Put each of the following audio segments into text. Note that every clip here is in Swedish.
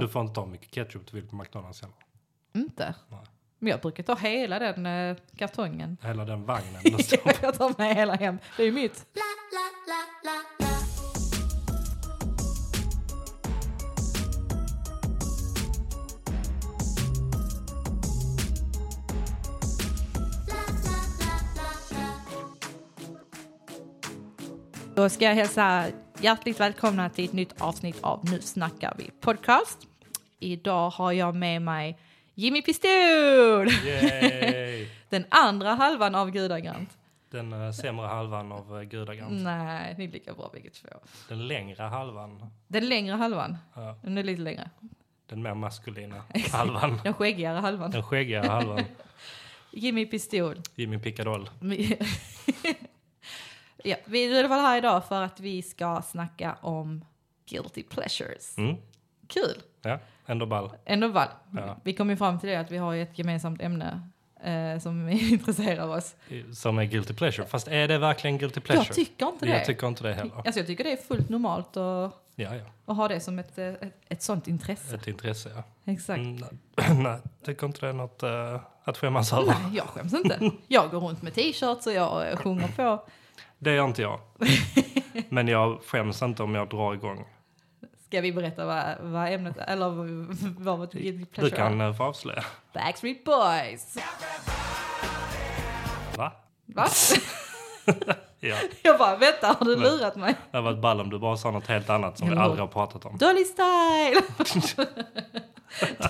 Du får inte ta hur mycket ketchup du vill på McDonalds heller. Inte? Nej. Men jag brukar ta hela den eh, kartongen. Hela den vagnen. Den står på. jag tar med hela hem. Det är ju mitt. Då ska jag hälsa hjärtligt välkomna till ett nytt avsnitt av Nu snackar vi podcast. Idag har jag med mig Jimmy Pistol! Yay! Den andra halvan av Gudagrant. Den eh, sämre halvan av eh, gudagrant. Nej, ni är lika bra bägge två. Den längre halvan. Den längre halvan, Ja, den är lite längre. den mer maskulina halvan. Den skäggigare halvan. Den skäggigare halvan. Jimmy Pistol. Jimmy Pickadoll. ja, vi är i alla fall här idag för att vi ska snacka om guilty pleasures. Mm. Kul! Ja, ändå ball. Ändå väl. Ja. Vi kom ju fram till det att vi har ju ett gemensamt ämne eh, som intresserar oss. Som är guilty pleasure. Fast är det verkligen guilty pleasure? Jag tycker inte det. Jag tycker inte det heller. alltså, jag tycker det är fullt normalt att, Ja, ja. att ha det som ett, eh, ett, ett sånt intresse. Ett intresse, ja. Exakt. Mm, nej, tycker inte det är något eh, att skämmas över. Nej, jag skäms inte. Jag går runt med t-shirts och jag eh, sjunger på. Det gör inte jag. Men jag skäms inte om jag drar igång. Ska vi berätta vad, vad ämnet eller vad- vad vårt guilty Du pleasure kan är? eh, få avslöja. Backstreet Boys! Va? Va? Ja, Jag bara, vänta, har du Nej. lurat mig? det var ett ball om du bara sa något helt annat som vi Ja. aldrig har pratat om. Dolly Style!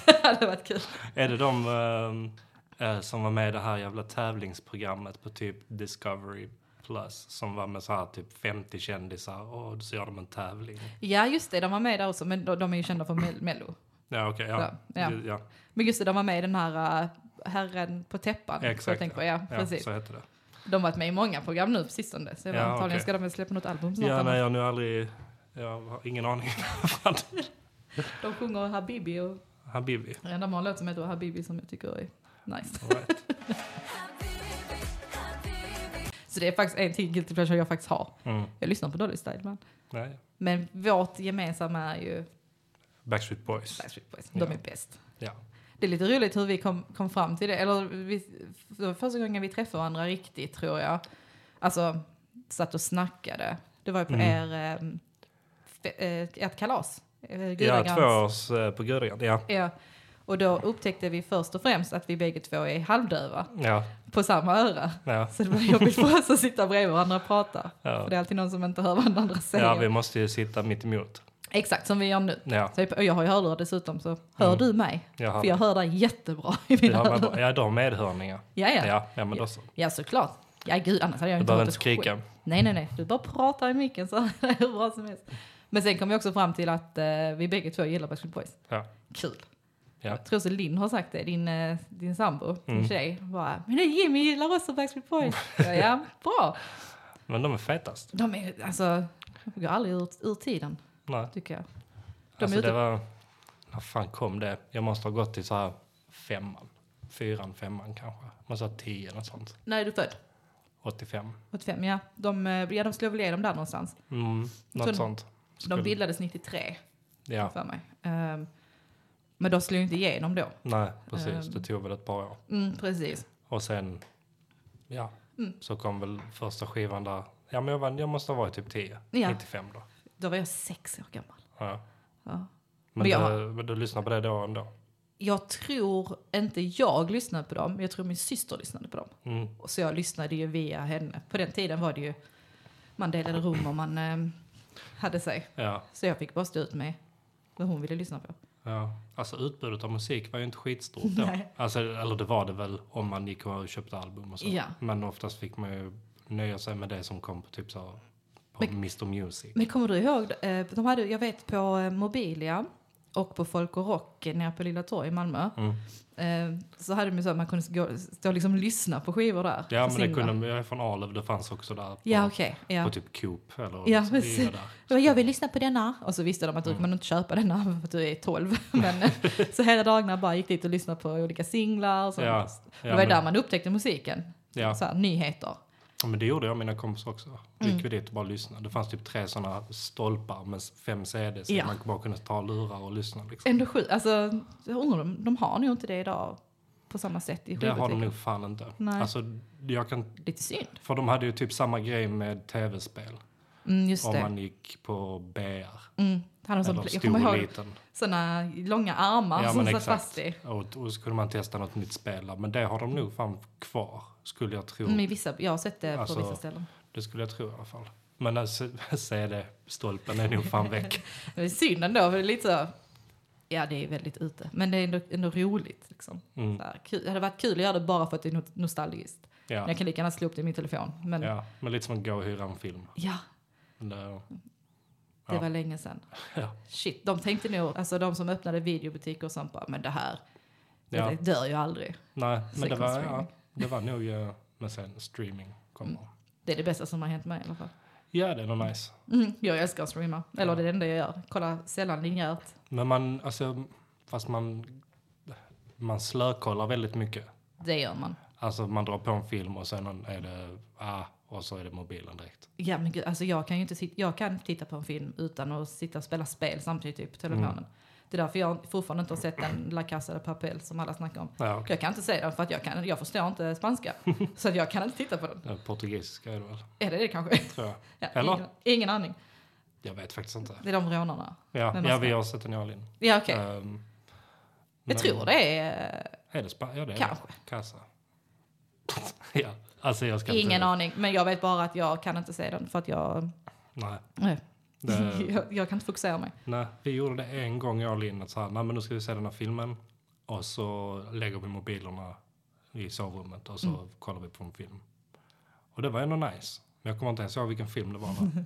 det hade varit kul. Är det de eh, eh, som var med i det här jävla tävlingsprogrammet på typ Discovery Plus som var med så här typ 50 kändisar och så gör de en tävling? Ja, just det, de var med där också, men de, de är ju kända från Mel- Mello. Ja, okej. ja. Ja, ja. Ja, Men just det, de var med i den här uh, Herren på täppan. så Exakt, Jag tänker på, ja, ja, precis. så heter det. De har varit med i många program nu på sistone, så jag Ja, bara, antagligen okej. ska de väl släppa något album snart. Ja, eller nej, jag har nu aldrig... Jag har ingen aning. Fan, något. De sjunger Habibi och Habibi. Ja, de har en låt som heter Habibi som jag tycker är nice. All right. Så det är faktiskt en till guilty pleasure jag faktiskt har. Mm. Jag lyssnar på Dolly Style ibland. Nej. Men vårt gemensamma är ju Backstreet Boys. Backstreet Boys. Ja. De är bäst. Ja. Det är lite roligt hur vi kom, kom fram till det. Eller vi, det var första gången vi träffade varandra riktigt tror jag. Alltså satt och snackade. Det var ju på Mm. er, um, ert kalas. eh, Ja, Gudagrans. två års eh, på Gudagrant. Ja. Ja. Och då upptäckte vi först och främst att vi bägge två är halvdöva Ja, på samma öra. ja, Så det var jobbigt för oss att sitta bredvid varandra och prata. ja. För det är alltid någon som inte hör vad den andra säger. ja, vi måste ju sitta mitt emot. Exakt som vi gör nu. Ja, Så jag- och jag har ju hörlurar dessutom så hör Mm. du mig? jag För jag har, hör dig jättebra i jag mina har hörlurar. med, ja, du har medhörningar. Ja, ja. ja. Ja, ja men då så. såklart. Ja gud annars hade jag Du inte behöver hört inte ett skit. skrika. Nej nej nej, du bara pratar i micken så det är hur bra som helst. Men sen kom vi också fram till att eh, vi bägge två gillar Backstreet Boys. Ja. Kul. Ja. Jag tror så Linn har sagt det, din, eh, din sambo, din Mm. tjej. Bara, men nej, Jimmy gillar också Backstreet Boys. Ja, ja, bra. Men de är fetast. De är alltså, de går aldrig ur, ur tiden Nej. tycker jag. De är Alltså ute- det var... När fan kom det? Jag måste ha gått till så här femman. Fyran, femman kanske. Måste ha tio, något sånt. När är du född? 85. 85, ja. De, eh, ja, de slog väl igenom där någonstans. Mm, Så- något sånt. De Skulle- bildades 93, Ja, för mig. Ehm, men de slog ju inte igenom då. nej precis. Ehm. Det tog väl ett par år. Mm, precis. Och sen, ja. Mm. Så kom väl första skivan där. Ja men jag, var, jag måste ha varit typ 10. Ja. 95 då. Då var jag sex år gammal. Ja. Ja. Men, Men jag- du, men du lyssnar på det då ändå? Jag tror inte jag lyssnade på dem, jag tror min syster lyssnade på dem. Mm. Och Så jag lyssnade ju via henne. På den tiden var det ju, man delade rum och man ehm, hade sig. Ja, Så jag fick bara stå ut med vad hon ville lyssna på. ja. Alltså utbudet av musik var ju inte skitstort då. Nej. alltså, eller det var det väl om man gick och köpte album och så. Ja. Men oftast fick man ju nöja sig med det som kom på typ så här, på Men- Mr Music. Men kommer du ihåg, eh, de hade, jag vet på eh, Mobilia och på Folk och Rock nere på Lilla Torg i Malmö. Mm. Eh, så hade de ju så att man kunde gå, stå och liksom lyssna på skivor där. Ja på men det singlar. kunde man, jag är från Arlöv, det fanns också där. På, Ja okej. ja. på typ Coop eller Ja, så är precis. det där. Det var, Jag vill lyssna på denna. Och så visste de att du Mm. kommer inte köpa denna för att du är 12. Men, eh, så hela dagarna bara gick dit och lyssnade på olika singlar. Och sånt. Ja, det ja, var men- där man upptäckte musiken. Ja. Så här, nyheter. Ja, men det gjorde jag och mina kompisar också. Vi Mm. gick vi dit och bara lyssnade. Det fanns typ tre sådana stolpar med fem CD så Ja. man bara kunde ta lurar och lyssna. Liksom. Ändå sjukt. Alltså, jag undrar, om- de har nog inte det idag på samma sätt i Det har de skivbutiken. nog fan inte. Nej. Alltså, jag kan, Lite synd. för de hade ju typ samma grej med tv-spel. Mm, just Om det. man gick på BR. Mm. Han har sån, Eller jag stor kommer och ihåg liten. såna långa armar Ja, som men satt exakt. fast i. Och, och så kunde man testa något nytt spel där. Men det har de nog fan kvar, skulle jag tro. Mm, i vissa, jag har sett det Alltså- på vissa ställen. Det skulle jag tro i alla fall. Men alltså, CD-stolpen är nog fan väck. Det är synd ändå, för det är lite så... Ja, det är väldigt ute. Men det är ändå, ändå roligt. Liksom. Mm. Så här, kul. Det hade varit kul att göra det bara för att det är no- nostalgiskt. Ja. Men jag kan lika gärna slå upp det i min telefon. Men ja, ja, men lite som att gå och hyra en film. Det, det Ja. var länge sedan. Ja. Shit, de tänkte nog, alltså de som öppnade videobutiker och sånt bara, men det här, Ja. det dör ju aldrig. nej, men det Second var, streaming. ja, det var nog... eh, Men sen streaming kommer. Det är det bästa som har hänt mig i alla fall. Ja, det är nog nice. Mm, jag älskar att streama. Eller det är det enda jag gör. Kolla sällan linjärt. Men man, alltså, fast man, man slökollar väldigt mycket. Det gör man. Alltså man drar på en film och sen är det, ah, och så är det mobilen direkt. Ja men gud, alltså jag kan ju inte sit- jag kan titta på en film utan att sitta och spela spel samtidigt typ, på telefonen. Mm. Det är därför jag fortfarande inte har sett den La Casa de Papel som alla snackar om. Ja, okej. Jag kan inte se den för att jag, kan, jag förstår inte spanska. så att jag kan inte titta på den. Det är Eh, Portugisiska är det väl, Är det det kanske? tror jag. Ja, Eller? Ingen, ingen aning. Jag vet faktiskt inte. Det är de rånarna. Ja, Men ja vad vi ska- har sett den jag och Linn. Ja okej. Ehm, men- Jag tror det är... Är det Spanien? Ja, det är Kanske. det. Kassa. ja, alltså jag ska Ingen inte... aning. Men jag vet bara att jag kan inte se den för att jag... Nej. Nej. Det- jag, jag kan inte fokusera mig. Nej, vi gjorde det en gång jag och Linn. att Så här, nej men nu ska vi se den här filmen. Och så lägger vi mobilerna i sovrummet och så Mm. kollar vi på en film. Och det var ändå nice. Men jag kommer inte ens ihåg vilken film det var. va?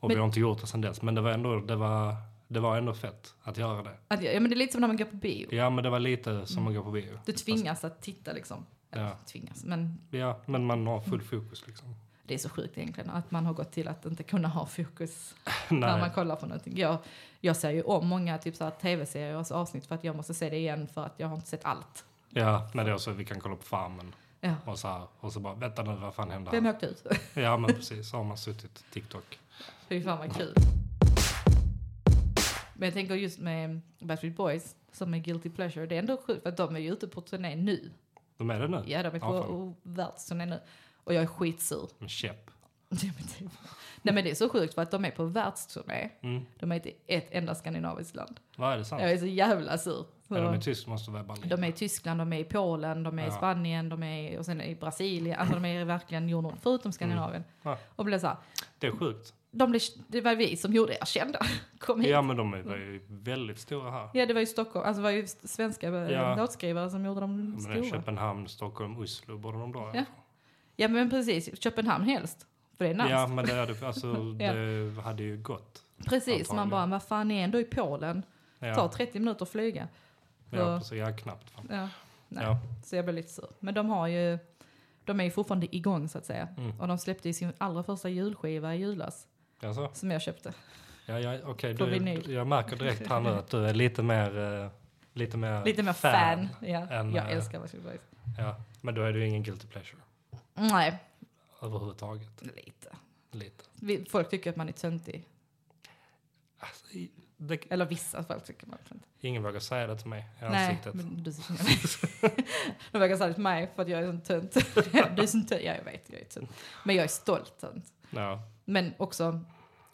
Och vi Men- har inte gjort det sedan dess. Men det var ändå, det var, det var ändå fett att göra det. Att jag, ja, men det är lite som när man går på bio. Ja men det var lite som Mm. att gå på bio. Du tvingas att titta liksom. Eller Ja. tvingas, men Ja, men man har Mm. full fokus liksom. Det är så sjukt egentligen att man har gått till att inte kunna ha fokus när man Nej, kollar på någonting. Jag, jag ser ju om många typ så här tv-seriers avsnitt för att jag måste se det igen för att jag har inte sett allt. ja, men det är också vi kan kolla på Farmen. Ja. Och så, här, och så bara, vänta nu vad fan hände Vem här? åkte ut? Ja men precis, så har man suttit TikTok. Fy fan vad kul. Men jag tänker just med Backstreet Boys som är Guilty Pleasure, det är ändå sjukt för att de är ju ute på turné nu. De är det nu? Ja, de är Ja, på fan. o- världsturné nu. Och jag är skitsur. Med käpp. Ja, men typ. Nej men det är så sjukt för att de är på världsturné. Mm. De är inte i ett enda skandinaviskt land. Vad är det sant? Jag är så jävla sur. Är de i Tyskland måste vara Berlin. De är i Tyskland, de är i Polen, de är i Ja. Spanien, de är i- och sen i Brasilien. Alltså de är verkligen jorden förutom Skandinavien. Mm. Ja. Och blev så här, Det är sjukt. de blev, det var vi som gjorde er kända. Kom hit. Ja Ja. men de är- var ju väldigt stora här. det var ju Stockholm, alltså det var ju s- svenska ja. Ja. låtskrivare som gjorde de Men det är stora. Köpenhamn, Stockholm, Oslo borde de dra i alla Ja. fall. Ja men precis, Köpenhamn helst. För det är närmast. Ja men det hade, alltså, Ja. det hade ju gått. precis, man antagligen. bara, vad fan är ändå i Polen? Ta Ja, 30 minuter att flyga. ja precis. Ja, knappt. Fan. Ja. Nej. Ja. Så jag blev lite sur. Men de har ju, de är ju fortfarande igång så att säga. Mm. Och de släppte ju sin allra första julskiva i julas. Alltså, Som jag köpte. ja, ja, okej, På du, vinyl. du- jag märker direkt här nu att du är lite mer, eh, lite mer, Lite mer fan. Ja, än, jag eh, älskar Backstreet Boys. Ja, men då är du ingen guilty pleasure Nej, överhuvudtaget. lite. Lite. Vi- Folk tycker att man är töntig. Alltså, i- det, Eller vissa folk tycker man är töntig. ingen vågar säga det till mig i Nej, ansiktet. men du De verkar säga till mig för att jag är en tönt. du är sån tönt. Ja, jag vet, jag är tönt. Men jag är stolt tönt. Ja, Men också,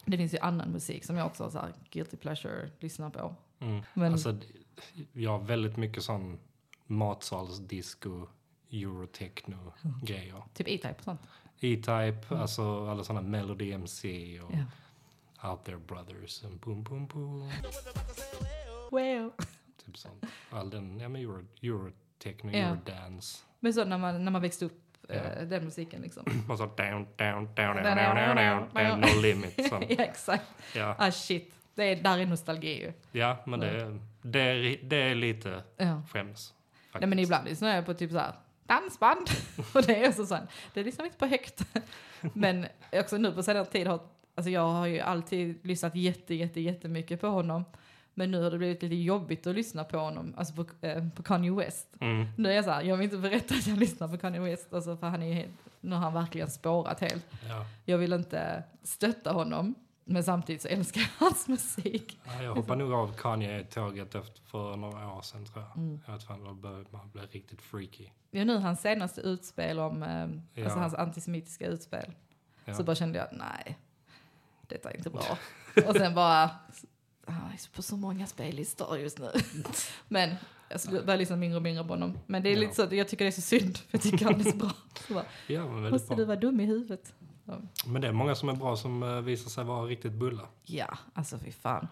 det finns ju annan musik som jag också har så här guilty pleasure lyssnar på. mm. Men Alltså, jag har väldigt mycket sån matsalsdisco, eurotechno-grejer. typ E-Type och sånt. E-Type, Mm. alltså alla såna Melody MC och Ja. Out There Brothers och boom, boom, boom. Wow. Typ sånt. All den, ja men euro, eurotechno, Ja. eurodance. Men så när man, när man växte upp, Ja. eh, den musiken liksom. Och så down, down, down, down, down, down, down, no limit. ja, Sån. exakt. Ja, Ah shit, det är, där är nostalgi ju. ja men det, är- det, är, det är lite Ja. skäms. Nej men faktiskt. ibland lyssnar jag på typ så här dansband. och det är också sån, det lyssnar vi inte på högt. men också nu på senare tid har, alltså jag har ju alltid lyssnat jätte, jätte, jättemycket på honom. Men nu har det blivit lite jobbigt att lyssna på honom, alltså på, eh, på Kanye West. Mm. Nu är jag så här, jag vill inte berätta att jag lyssnar på Kanye West, alltså för han är ju helt Nu har han verkligen spårat helt. Ja. Jag vill inte stötta honom, men samtidigt så älskar jag hans musik. Nej, Jag hoppade nog av Kanye-tåget efter för några år sedan tror jag. Mm. Jag vet fan, då började man bli riktigt freaky. Ja, nu hans senaste utspel om, eh, Ja. alltså hans antisemitiska utspel. Ja. Så bara kände jag, nej, detta är inte bra. Och sen bara, han är på så många spellistor just nu. Men jag skulle börja lyssna mindre och mindre på honom. Men det är Ja. lite så, att jag tycker det är så synd, för jag tycker han är så bra. Så bara, Ja, men väldigt måste bra. du vara dum i huvudet? Men det är många som är bra som eh, visar sig vara riktigt bulla. Ja, alltså fy fan.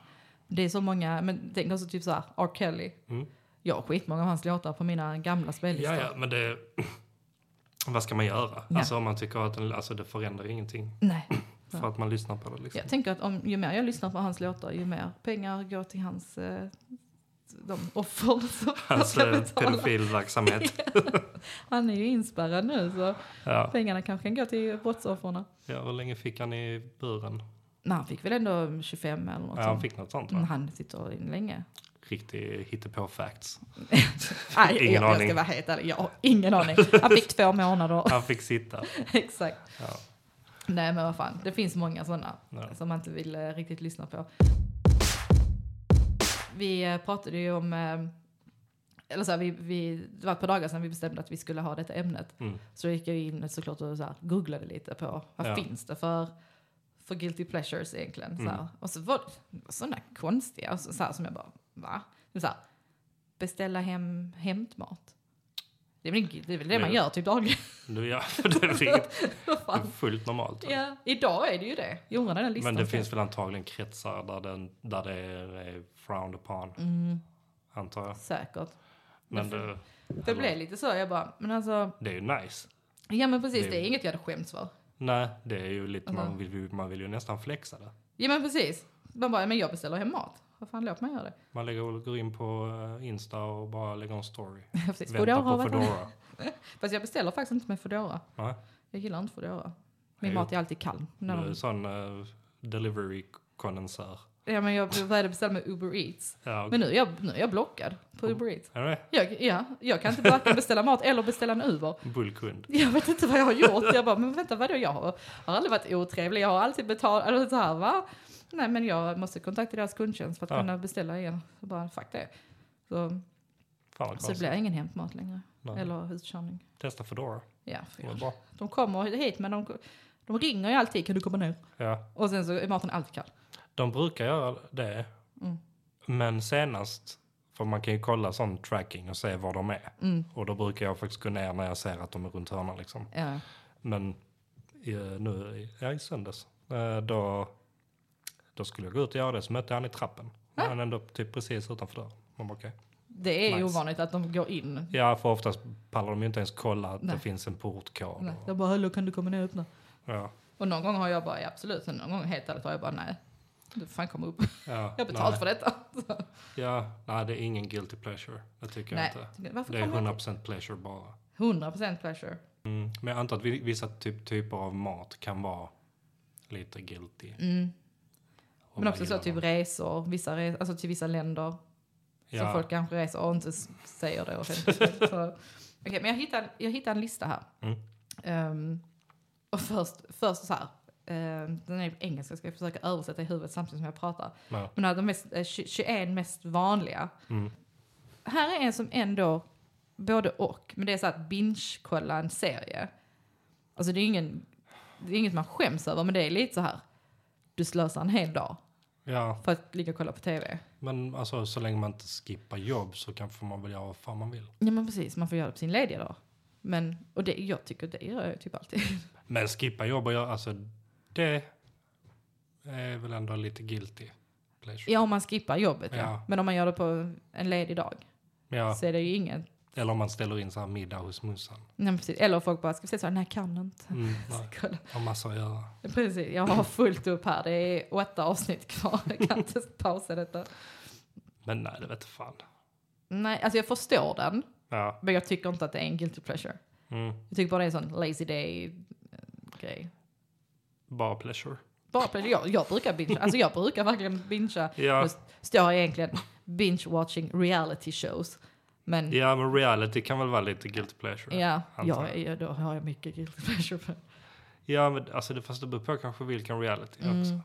Det är så många, men tänk också typ så här, R. Kelly. Mm. Jag har skitmånga av hans låtar på mina gamla spellistor. Ja, ja, men det... Vad ska man göra? Ja. Alltså om man tycker att den, alltså, det förändrar ingenting Nej, Ja. för att man lyssnar på det liksom. jag tänker att om, ju mer jag lyssnar på hans låtar, ju mer pengar går till hans eh, de offer som han Alltså ska betala. pedofilverksamhet. Han är ju inspärrad nu så Ja. pengarna kanske kan gå till brottsoffren. ja, hur länge fick han i buren? Men han fick väl ändå 25 eller något Ja, han sånt. Mm. fick något sånt Men va? han sitter in länge. Riktig hittepå-facts. Nej, Ingen jag, jag aning. ska vara helt ärlig, jag har ingen aning. Han fick två månader. Han fick sitta. Exakt. Ja. Nej men vad fan, det finns många sådana Ja. som man inte vill eh, riktigt lyssna på. Vi eh, pratade ju om, eh, eller så här, vi, vi, det var ett par dagar sedan vi bestämde att vi skulle ha detta ämnet. Mm. Så då gick jag in såklart och så här, googlade lite på vad Ja. finns det för, för guilty pleasures egentligen. Så här. Mm. Och så var det sådana konstiga och så, så här, som jag bara, va? Så här, beställa hem hämtmat. Det är väl, ing- det, är väl det Det- man gör typ dagligen. Du, ja, det är riktigt- Vad det är fan? fullt normalt. va? Ja, idag är det ju det. Jag undrar den listan. Men det ska- finns väl antagligen kretsar där, den, där det är, är frowned upon, Mm, antar jag. säkert. Men Det- det, Det blev lite så, jag bara, men alltså, det är ju nice. ja men precis, Det- det är inget jag hade skämts för. Nej, det är ju lite, Alltså. man, vill, ju- man vill ju nästan flexa det. Ja men precis. Man bara, men jag beställer hem mat. Vad fan, låt mig göra det. Man lägger, går in på eh, Insta och bara lägger en story. precis. Väntar Foodora har på varit med. Foodora. Fast jag beställer faktiskt inte med Foodora. Nej. Jag gillar inte Foodora. Nej, Min mat är alltid kall. Du När är de, sån eh, delivery-kondensör. ja men jag började beställa med Uber Eats. Ja, och- Men nu är jag, nu är jag blockad på Mm. Uber Eats. är det Jag, ja, jag kan inte varken beställa mat eller beställa en Uber. det? Bullkund. Jag vet inte vad jag har gjort. Jag bara, men vänta vadå, jag har, har aldrig varit otrevlig. Jag har alltid betalat, eller så här va? Nej men jag måste kontakta deras kundtjänst för att Ja. kunna beställa igen. Så bara, fuck det. Så, Fan vad så Alltså, det konstigt. blir ingen hämtmat längre. Nej. Eller utkörning. Testa Foodora. Ja, för Det var jag- bra. de kommer hit men de, de ringer ju alltid, kan du komma ner? Ja. Och sen så är maten alltid kall. De brukar göra det. Mm. Men senast, för man kan ju kolla sån tracking och se var de är. Mm. Och då brukar jag faktiskt gå ner när jag ser att de är runt hörnan liksom. Ja. Men i, nu i- ja, i söndags, eh, då, då skulle jag gå ut och göra det, så mötte jag han i trappen. Va? Han är ändå typ precis utanför dörren. Man bara, okej. Det är ju Nice. ovanligt att de går in. Ja, för oftast pallar de ju inte ens kolla att det Nej. finns en portkod. Nej, Och, Jag bara, hallå kan du komma ner och öppna? ja, Och någon gång har jag bara, ja, absolut. Sen någon gång helt ärligt har jag bara, nej. Du får fan komma upp. ja, Jag har betalt nej, för detta. det. Ja, nej, det är ingen guilty pleasure. Det tycker Nej. jag inte. Varför Det är kommer jag inte? 100% pleasure bara. 100% pleasure. Mm. Men jag antar att vi- vissa typ, typer av mat kan vara lite guilty. Mm. om Men man också så gillar typ dem. resor, vissa resor, alltså till vissa länder. Så folk kanske reser och inte s- säger det offentligt. så. Okej, men jag hittade, jag hittade en lista här. Mm. Ehm, och först, först så här. ehm, den är på engelska, ska jag försöka översätta i huvudet samtidigt som jag pratar. Ja. Men här, de mest, eh, 20 21 mest vanliga. Mm. Här är en som ändå, både och, men det är så att binge-kolla en serie. Alltså det är, ingen, det är inget man skäms över, men det är lite så här. Du slösar en hel dag ja, för att ligga och kolla på tv. Men alltså så länge man inte skippar jobb så kan får man väl göra vad fan man vill. Ja men precis, man får göra det på sin lediga dag. Men, och det, jag tycker det gör jag typ alltid. Men skippa jobb och göra, alltså det är väl ändå lite guilty pleasure. Ja om man skippar jobbet ja. Ja. Men om man gör det på en ledig dag Ja, så är det ju inget. eller om man ställer in så här middag hos morsan. Nej, men precis. Eller folk bara, ska vi säga så här, nej jag kan inte. Mm, Så nej, kolla. har massa att göra. Precis, jag har fullt upp här. Det är åtta avsnitt kvar. Jag kan inte pausa detta. Men nej, det vet fan. Nej, alltså jag förstår den. Ja, Men jag tycker inte att det är en guilty pleasure. mm, Jag tycker bara det är en sån lazy day-grej. bara pleasure. Bara på det, jag, jag brukar bingea. Alltså jag brukar verkligen bingea. Ja, Just- står egentligen binge-watching reality shows. Men Ja, men reality kan väl vara lite guilty pleasure? ja, antar ja, ja, då har jag mycket guilty pleasure. För. Ja, men alltså det fast det beror på kanske vilken reality Mm. också.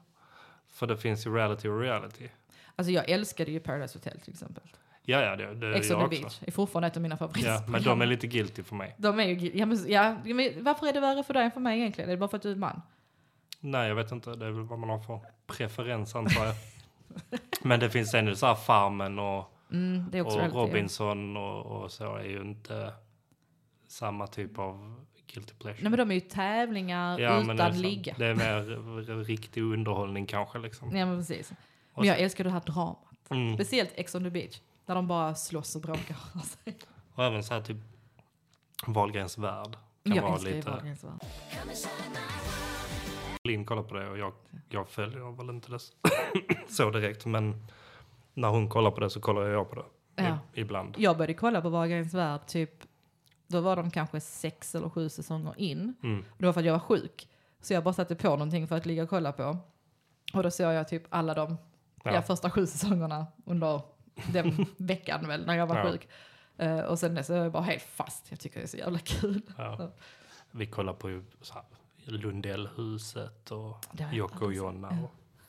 För det finns ju reality och reality. Alltså jag älskade ju Paradise Hotel till exempel. Ja, ja, det, det Ex är on jag the också. Beach är fortfarande ett av mina Ja, men favoritprogram. de är lite guilty för mig. de är ju, gui- ja, men, ja, men varför är det värre för dig än för mig egentligen? Är det bara för att du är man? Nej, jag vet inte. Det är väl vad man har för preferens antar jag. men det finns ändå så här Farmen och, Mm, det är också och relativt. Robinson och, och så är ju inte samma typ av guilty pleasure. Nej men de är ju men tävlingar det är utan sant. ligga. Det är mer r- r- riktig underhållning kanske liksom. Ja men precis. Och Men jag älskar det här dramat. Mm. Speciellt Ex on the Beach. Där de bara slåss och bråkar. Alltså, Och även så här typ Wahlgrens värld. Kan jag vara älskar ju lite... Wahlgrens värld. Linn kollade på det och jag, jag följer väl inte det s- så direkt. Men när hon kollar på det så kollar jag på det Ja. i, ibland. Jag började kolla på Wahlgrens värld typ, då var de kanske sex eller sju säsonger in. Mm. Det var för att jag var sjuk. Så jag bara satte på någonting för att ligga och kolla på. Och då såg jag typ alla de ja. Ja. första sju säsongerna under den veckan väl, när jag var Ja. sjuk. Eh, och sen så är jag bara helt fast. Jag tycker det är så jävla kul. Ja. Vi kollar på ju så här, Lundellhuset och Det har jag Jocke och aldrig sett. Jonna. Ja.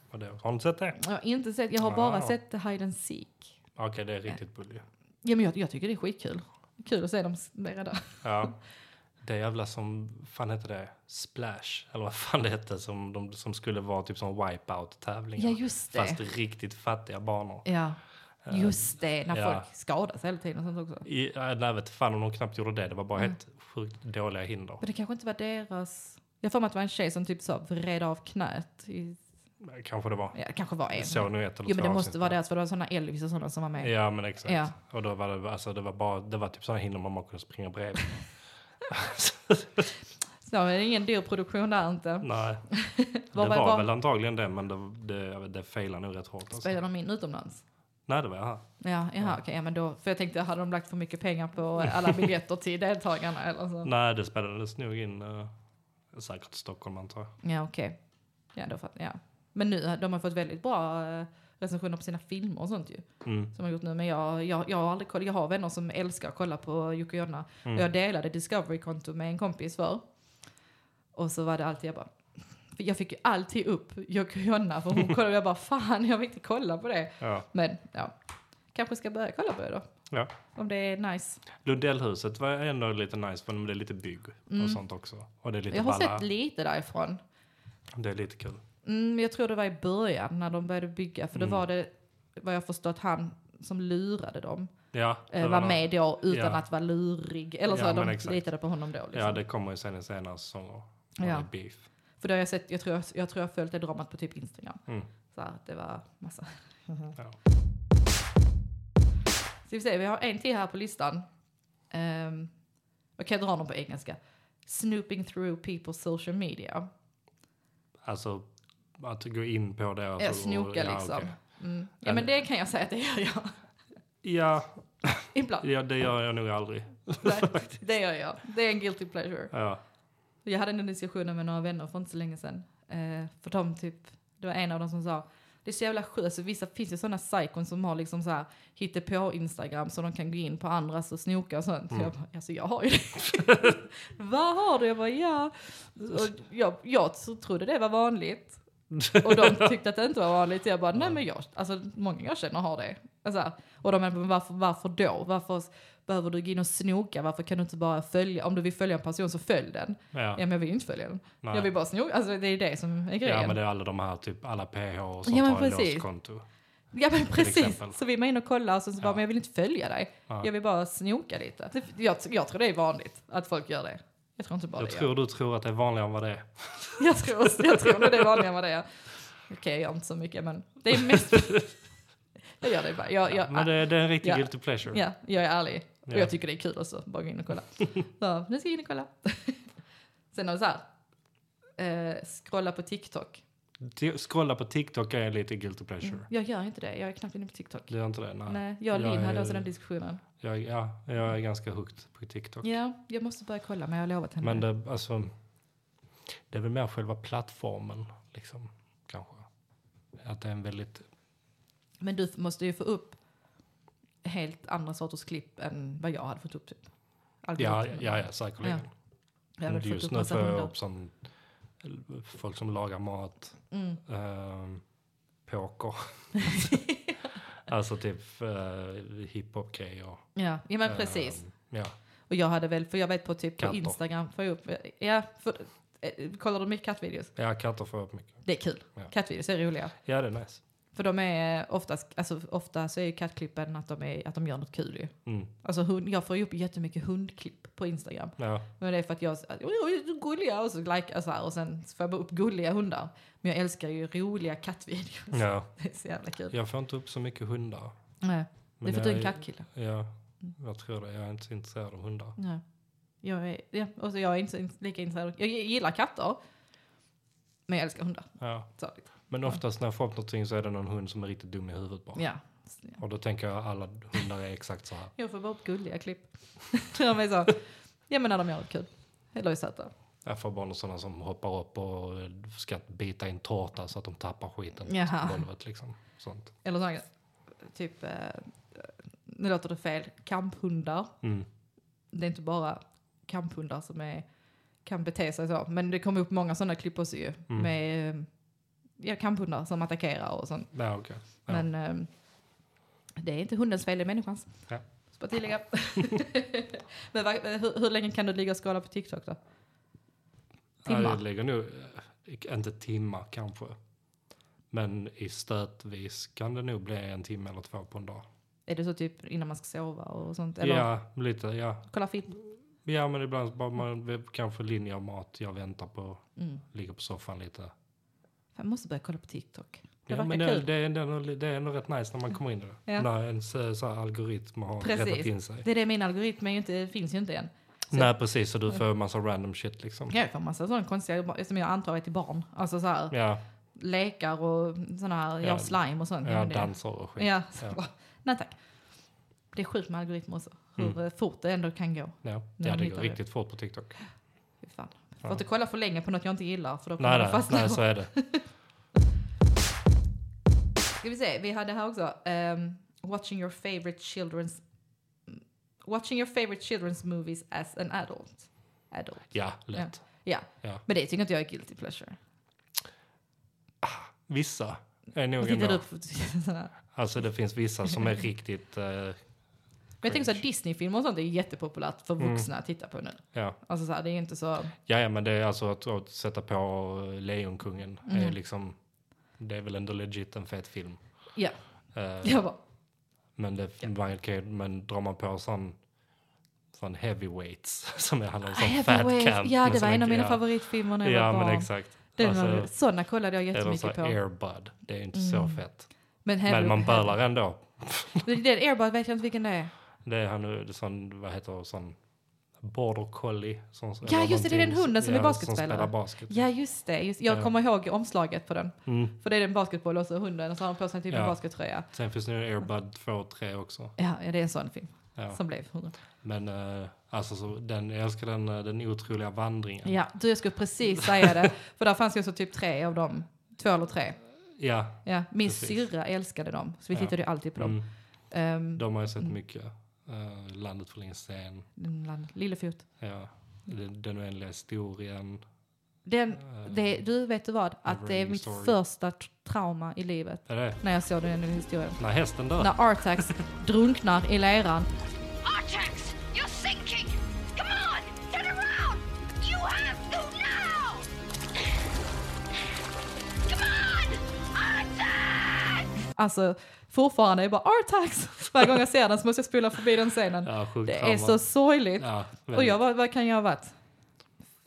Och, och det. Har ni sett det? Jag har inte sett, jag har bara Ah. sett Hide and Seek. Okej, det är riktigt bull ju. Ja, men jag, jag tycker det är skitkul. Kul att se dem s- nere där. Ja. Det jävla som, fan heter det? Splash? Eller vad fan det hette som, de, som skulle vara typ som Ja, wipeout-tävlingar. just det. Fast riktigt fattiga banor. Ja, Eh, just det. När ja. folk skadas hela tiden och sånt också. I, jag vet fan om de knappt gjorde det. Det var bara Mm. helt sjukt dåliga hinder. Men det kanske inte var deras... Jag får mig att det var en tjej som typ så vred av knät. I, Kanske det var. ja, det kanske var en. Jag såg nu ett eller Jo men två det måste avsnitt. vara deras för det var sådana Elvis och sådana som var med. Ja men exakt. Ja. Och då var det, alltså, det var bara, det var typ sådana hinder man bara kunde springa bredvid. Så det är ingen dyr produktion där inte. Nej. Var det var- var var- väl antagligen det men det, det, jag vet, det failade nog rätt hårt. Alltså. Spelar de in utomlands? Nej det var jag här. Ja, jaha, okej. ja, men då, för jag tänkte, hade de lagt för mycket pengar på alla biljetter till deltagarna eller så? Nej det spelades nog in eh, säkert i Stockholm antar jag. Ja, okej. Ja, då fatt- ja. Men nu, de har fått väldigt bra eh, recensioner på sina filmer och sånt ju. Mm. Som har gjort nu. Men jag, jag, jag har aldrig kollat, jag har vänner som älskar att kolla på Jocke och Jonna. Mm. Och jag delade Discovery-konto med en kompis för. Och så var det alltid jag bara, för jag fick ju alltid upp Jocke och Jonna för hon kollade och jag bara fan jag vill inte kolla på det. Ja. Men ja, kanske ska börja kolla på det då. Ja. Om det är nice. Lundellhuset var ändå lite nice för men det är lite bygg Mm. och sånt också. Och det är lite jag har balla. sett lite därifrån. Det är lite kul. Mm, jag tror det var i början när de började bygga. För då Mm. var det, vad jag förstått, han som lurade dem. Ja, eh, det var någon- med då utan ja. att vara lurig. Eller så Ja, men de exakt. litade på honom då. Liksom. Ja det kommer ju sen i senare säsonger. Ja. Ja. Beef. För då har jag sett, jag tror jag, jag tror jag har följt det dramat på typ Instagram. Mm. Mm-hmm. Så här, det var massa. Ja. Ska vi se, vi har en till här på listan. Um, jag kan dra någon på engelska. Snooping through people's social media. Alltså att gå in på det. Jag och- snoka ja, liksom. okej. Mm. Ja Ja, men det kan jag säga att det gör jag. Ja, Ibland. ja, det gör jag nog aldrig. Nej, det gör jag. Det är en guilty pleasure. Ja. Jag hade den diskussionen med några vänner för inte så länge sedan. Eh, för de typ, det var en av dem som sa, det är så jävla sjukt, alltså, vissa finns ju sådana psykon som har liksom så här på Instagram så de kan gå in på andras och snoka och sånt. Mm. Jag bara, alltså jag har ju det. Vad har du? Jag bara, ja. Och jag, jag så trodde det var vanligt. och de tyckte att det inte var vanligt. Jag bara, nej men jag, alltså många jag känner har det. Alltså, och de menar, men varför, varför då? Varför behöver du gå in och snoka? Varför kan du inte bara följa, om du vill följa en person så följ den. Ja, Ja, men jag vill ju inte följa den. nej. Jag vill bara sno. Alltså det är ju det som är grejen. ja, men det är alla de här, typ alla PH och sånt Ja, men har ju precis. låst konto. precis. exempel. Så vill man in och kolla och sen så bara, Ja. men jag vill inte följa dig. Ja. Jag vill bara snoka lite. Det- Jag, jag tror det är vanligt att folk gör det. Jag tror inte bara Jag det. tror du tror att det är vanligare än vad det är. Jag, jag tror, jag tror nog det är vanligare än vad det är. Okej, jag gör inte så mycket men det är mest... jag gör det bara. Jag, jag, Ja, men det, det är en riktig Ja. guilty pleasure. Ja, jag är ärlig. Och Ja. jag tycker det är kul också, bara gå in och kolla. Så, nu ska jag in och kolla. Sen har vi så här, eh, scrolla på TikTok. Ti- Scrolla på TikTok är lite guilty pleasure. Jag gör inte det, jag är knappt inne på Tiktok. Du gör inte det? Nej. Mm. Nej, jag och Jag Linn hade är- också den diskussionen. Jag, ja, jag är ganska hooked på TikTok. Ja, jag måste börja kolla men jag har lovat henne. Men det, alltså, det är väl mer själva plattformen, liksom, kanske. Att det är en väldigt... Men du måste ju få upp helt andra sorters klipp än vad jag hade fått upp. Typ. Ja, Algoritmen. ja, ja, säkerligen. Jag hade Men fått just upp nu massa får jag hundar. upp sån, folk som lagar mat, Mm. ehm, poker. alltså typ uh, hiphop-grejer. Ja, ja, men precis. Ehm, ja. Och jag hade väl, för jag vet på typ på Katter. Instagram får jag upp, ja, för, eh, kollar du mycket kattvideos? ja, katter får jag upp mycket. Det är kul. Ja. Kattvideos är roliga. Ja, det är nice. För de är oftast, alltså ofta så är ju kattklippen att de, är, att de gör något kul ju. Mm. Alltså hund, jag får ju upp jättemycket hundklipp på Instagram. Ja, Men det är för att jag, att, "Oj, oj, så gulliga och så likar så här och sen får jag bara upp gulliga hundar. Men jag älskar ju roliga kattvideos. ja. Det är så jävla kul. Jag får inte upp så mycket hundar. Nej, det är Men för att du är en jag- kattkille. Ja, jag tror det. Jag är inte så intresserad av hundar. Nej. Jag är, ja, och så jag är inte så in- lika intresserad. Jag gillar katter. Men jag älskar hundar. Ja. Så, Men oftast när jag får upp någonting så är det någon hund som är riktigt dum i huvudet bara. ja. Så, ja. Och då tänker jag alla hundar är exakt så här. Jag får bara upp gulliga klipp. de är så, ja men när de gör något kul. Eller är söta. Jag får bara sådana som hoppar upp och ska bita i en tårta så att de tappar skiten Jaha. på golvet liksom. Sånt. Eller sådana, typ, eh, nu låter det fel, kamphundar. Mm. Det är inte bara kamphundar som är, kan bete sig så. Men det kommer upp många sådana klipp också ju. Mm. Med eh, ja, kamphundar som attackerar och sånt. Ja, okej. Ja. Men ehm, det är inte hundens fel, det är människans. Ja. Så bara tillägga. Men vad- hur, hur länge kan du ligga och skala på TikTok då? Timmar. Ja, det ligger nog, eh, inte timmar kanske. Men i stötvis kan det nog bli en timme eller två på en dag. Är det så typ innan man ska sova och sånt? Eller Ja, lite. Ja. kolla film? ja, men ibland bara man kanske linje av mat. Jag väntar på, Mm. ligger på soffan lite. Jag måste börja kolla på TikTok. Det Ja, verkar men eh, det, kul. Mm. det, är ändå, det är ändå rätt nice när man kommer in i det. Ja. När ens eh, så här, algoritm har Precis. rättat in sig. Det är det min algoritm är ju inte, finns ju inte än. Så- Nej, precis. Så du får en massa random shit liksom. Jag får massa sådana konstiga, som jag antar är till barn. Alltså så här, Ja, lekar och sådana här, Ja. gör slime och sånt. ja, men det- danser och skit. ja, så Ja. bara, nej tack. Det är sjukt med algoritmer också. Hur Mm. eh, fort det ändå kan gå. Ja. När Ja, de det hittar går det. riktigt fort på TikTok. Fy fan. Får Ja. inte kolla för länge på något jag inte gillar för då kommer Nej, jag nej, fastna. nej, så är det. Ska vi se, vi hade här också ehm, watching your favorite children's watching your favorite children's movies as an adult. adult. Ja, lätt. Men det tycker inte jag är guilty pleasure. Vissa är nog Tittar du ändå... upp på sådana här? Alltså det finns vissa som är riktigt... eh, Men jag tänker så att Disney-filmer och sånt är jättepopulärt för vuxna att titta på nu. Mm. ja. Alltså så här, det är inte så... ja, ja, men det är alltså att, att sätta på Lejonkungen. Är Mm. liksom, det är väl ändå legit en fet film. Ja. Eh, Jag bara, Men, det, Ja. man kan, men drar man på sån, sån heavyweights som jag handlar om, sån fat Hathaway, camp. Ah, ja men det som var en av inte- mina ja. favoritfilmer när jag Ja, var men barn. exakt. Den Alltså, var, sådana kollade jag Eller så jättemycket på. Mm. airbud, det är ju inte så fett. men Men Harry- man bölar ändå. Men Den Airbud vet jag inte vilken det är. Det är han nu, det är sån, vad heter det, sån border collie. Sån, eller just det, det är någonting den hunden som är Som basketspelare. spelar basket. Ja just det, just, jag Ja. kommer ihåg omslaget på den. Mm. För det är en basketboll och så hunden och så har han på sig typ en Ja. baskettröja. Sen finns det ju airbud 2 och 3 också. Ja, ja, det är en sån film Ja. som blev hundra. Men eh, alltså, så, den, jag älskar den, eh, den otroliga vandringen. Ja, du jag skulle precis säga det. För där fanns ju också typ tre av dem. Två eller tre. Ja, Ja, min Precis. syrra älskade dem. Så vi Ja. tittade ju alltid på dem. mm. Ehm, de har jag sett mycket. Eh, Landet för länge sen. den land- Lillefot. Ja. Den, den oändliga historien. Den, Eh, det, du vet du vad? Att det är Neverending mitt Story. första tr- trauma i livet. Är det? När jag såg den historien. När hästen dör? När Artax drunknar i leran. Artax, you're sinking! Come on, turn around! You have to now! Come on, Artax! Alltså fortfarande är jag bara Artax. Varje gång jag ser den så måste jag spola förbi den scenen. Ja, sjukt Det trauma. är så sorgligt. Ja, Och jag väldigt. var, vad kan jag ha varit?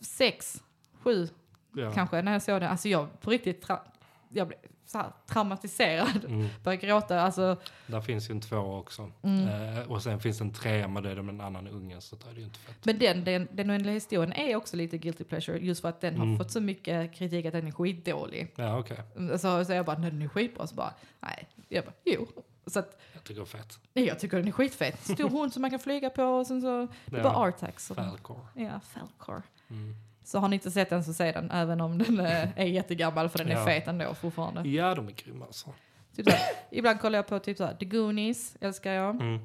Sex, sju ja. kanske när jag såg den. Alltså jag på riktigt, tra- jag blev så här traumatiserad. Mm. Började gråta, alltså Där finns ju en tvåa också. Mm. Eh, och sen finns det en trea, men det är de en annan unge, så det är ju inte fett. Men den, den, den oändliga historien är också lite guilty pleasure just för att den har Mm. fått så mycket kritik att den är skitdålig. Alltså, Ja, okej. Så, så jag bara, nej den är skitbra. Så bara, nej. Jag bara, jo. Så att, Jag tycker det är fett. nej jag tycker den är skitfett. Stor hund som man kan flyga på och sen så, det Ja. är bara Artax. Och, Falcor. ja, Falcor. Mm. Så har ni inte sett den så se den, även om den eh, är jättegammal för den är Ja. fet ändå fortfarande. Ja, de är grymma alltså. Typ så här, ibland kollar jag på typ så här, The Goonies, älskar jag. Mm.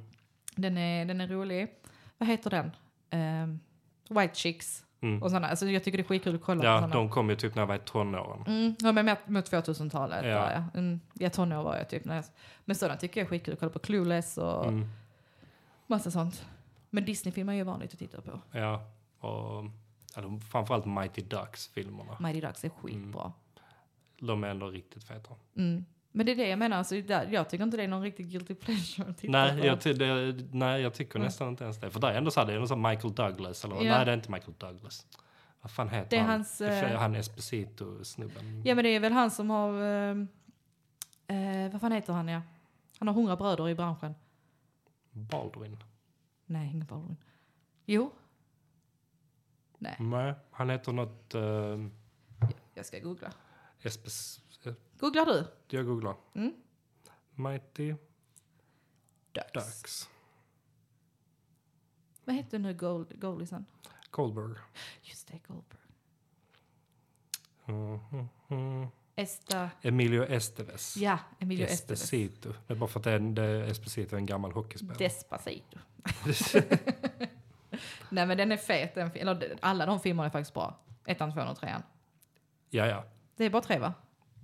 Den är, den är rolig. Vad heter den? Ehm, White Chicks Mm. och sådana. Alltså jag tycker det är skitkul att kolla på Ja, sådana. de kom ju typ när jag var i tonåren. Mm, ja, men med, mot 2000-talet. Ja. Ja. Ja. Mm, ja, tonår var jag typ. När jag, men sådana tycker jag är skitkul. Kolla på Clueless och Mm. massa sånt. Men Disney-filmer är ju vanligt att titta på. Ja, och eller, framförallt Mighty Ducks-filmerna. Mighty Ducks är skitbra. De är ändå riktigt feta. Mm. Men det är det jag menar. Alltså, där, jag tycker inte det är någon riktig guilty pleasure att titta på. Nej jag, ty- det, nej, jag tycker Mm. nästan inte ens det. För där är ändå så här, det är ändå så här Michael Douglas. Eller, Ja. Nej, det är inte Michael Douglas. Vad fan heter Det är han? hans, Det är eh, han Esposito-snubben. Ja men det är väl han som har... ehm, eh, vad fan heter han ja? Han har hundra bröder i branschen. Baldwin? Nej, ingen Baldwin. Jo, Nej, han heter något... Uh, jag ska googla. Espes, Googlar du? jag googlar. Mm. Mighty Ducks. Ducks. Vad heter nu gold, goalisen? Colberg. Just det, Goldberg. Mm, mm, mm. Esta... Emilio Esteves. Ja, Emilio Estevez. Espesito. Det är bara för att det är, det är Espesito är en gammal hockeyspelare. Despacito. Nej men den är fet. Den, fi- eller, alla de filmerna är faktiskt bra. Ettan, tvåan och trean. ja, ja. Det är bara tre va?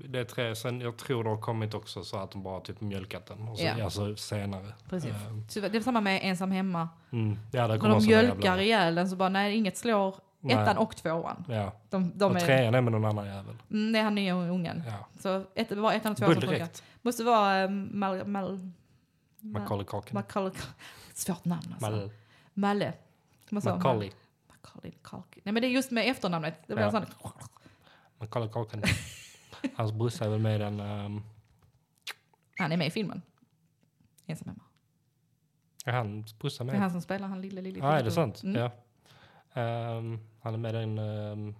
Det är tre, sen jag tror det har kommit också så att de bara typ mjölkat den. Och så, Ja. Alltså senare. Precis. Eh, Så det är samma med Ensam Hemma. mm. Ja, det När kommer de såna mjölkar jävla- ihjäl den så bara nej inget slår Nej. ettan och tvåan. Ja. De, de och är, trean är med någon annan jävel. Mm, det är han nya ungen. Ja. Så ett, det var ettan och tvåan som funkar. Bulldirekt. Måste vara eh, Mal... Mal... Ma- Macaulay Culkin. Macaulay... Svårt namn alltså. Mal- Malle. Vad sa man? Macaulay. Macaulay Culkin. Nej men det är just med efternamnet. Det blir Ja. en sån... Macaulay Culkin. Hans brorsa är väl med i den... ehm, Han är med i filmen. Ensam hemma. är hans brorsa Det med? är han som spelar han lille, lille Ja, är det Filippo. sant? Mm. Ja. Ehm, han är med i den... ehm,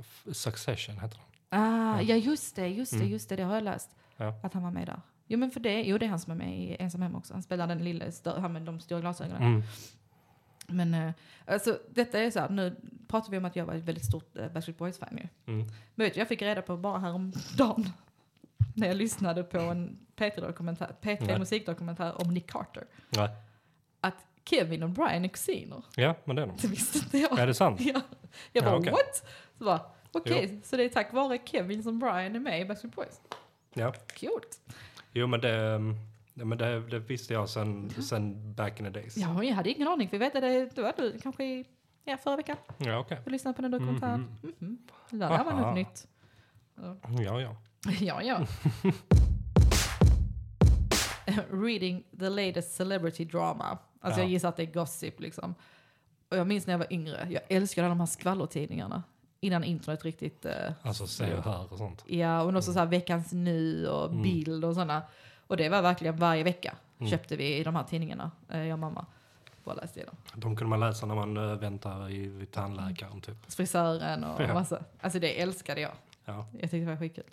F- Succession heter den. Ah, ja just det, just det, Mm. just det. Det har jag läst. Ja. Att han var med där. Jo men för det, jo det är han som är med i Ensam hemma också. Han spelar den lille, stö- han med de stora glasögonen. Mm. Men eh, alltså, detta är så här, nu pratar vi om att jag var ett väldigt stort eh, Backstreet Boys-fan ju. Mm. Men vet du, jag fick reda på bara häromdagen när jag lyssnade på en P3-dokumentär, P3 Nej. musikdokumentär om Nick Carter. Nej. Att Kevin och Brian är kusiner. Ja, men det är de. Det visste inte jag. Är det sant? Ja. Jag bara Ja, okej. what? Så bara okej, så det är tack vare Kevin som Brian är med i Backstreet Boys. Ja. Coolt. Jo, men det, ehm, ja, men det, det visste jag sen, sen back in the days. Ja, jag hade ingen aning för jag vet att det det var du kanske i ja, förra veckan. ja okej. Jag lyssnade på den dokumentären. Mhm. Det där var Mm, Aha. något nytt. Ja, ja. Ja, ja. Reading the latest celebrity drama. Alltså Ja. jag gissar att det är gossip liksom. Och jag minns när jag var yngre, jag älskade de här skvallertidningarna. Innan internet riktigt... eh, Alltså se och hör och sånt. ja, och också så här Veckans Nu och Mm. Bild och sådana. Och det var verkligen varje vecka Mm. köpte vi i de här tidningarna, eh, jag och mamma. Bara läste i dem. De kunde man läsa när man eh, väntar i, vid tandläkaren typ. Frisören och Ja. massa. Alltså det älskade jag. Ja. Jag tyckte det var skitkul.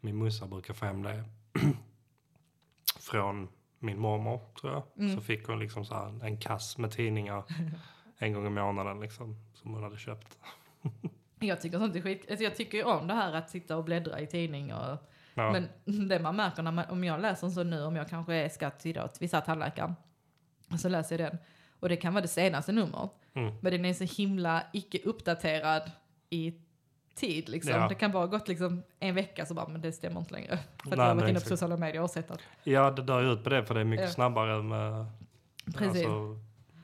Min morsa brukar få hem det från min mormor tror jag. Mm. Så fick hon liksom så här en kass med tidningar en gång i månaden liksom. Som hon hade köpt. Jag tycker sånt är skit... Alltså jag tycker ju om det här att sitta och bläddra i tidning och Ja. Men det man märker när man, om jag läser en sån nu, om jag kanske ska till åt vissa tandläkaren, och så läser jag den. Och det kan vara det senaste numret. Mm. Men den är så himla icke uppdaterad i tid liksom. Ja. Det kan bara ha gått liksom en vecka så bara, men det stämmer inte längre. För att Nej, jag har men varit inne på exakt. sociala medier och sett att, ja, det dör ju ut på det för det är mycket Ja. snabbare med precis. alltså,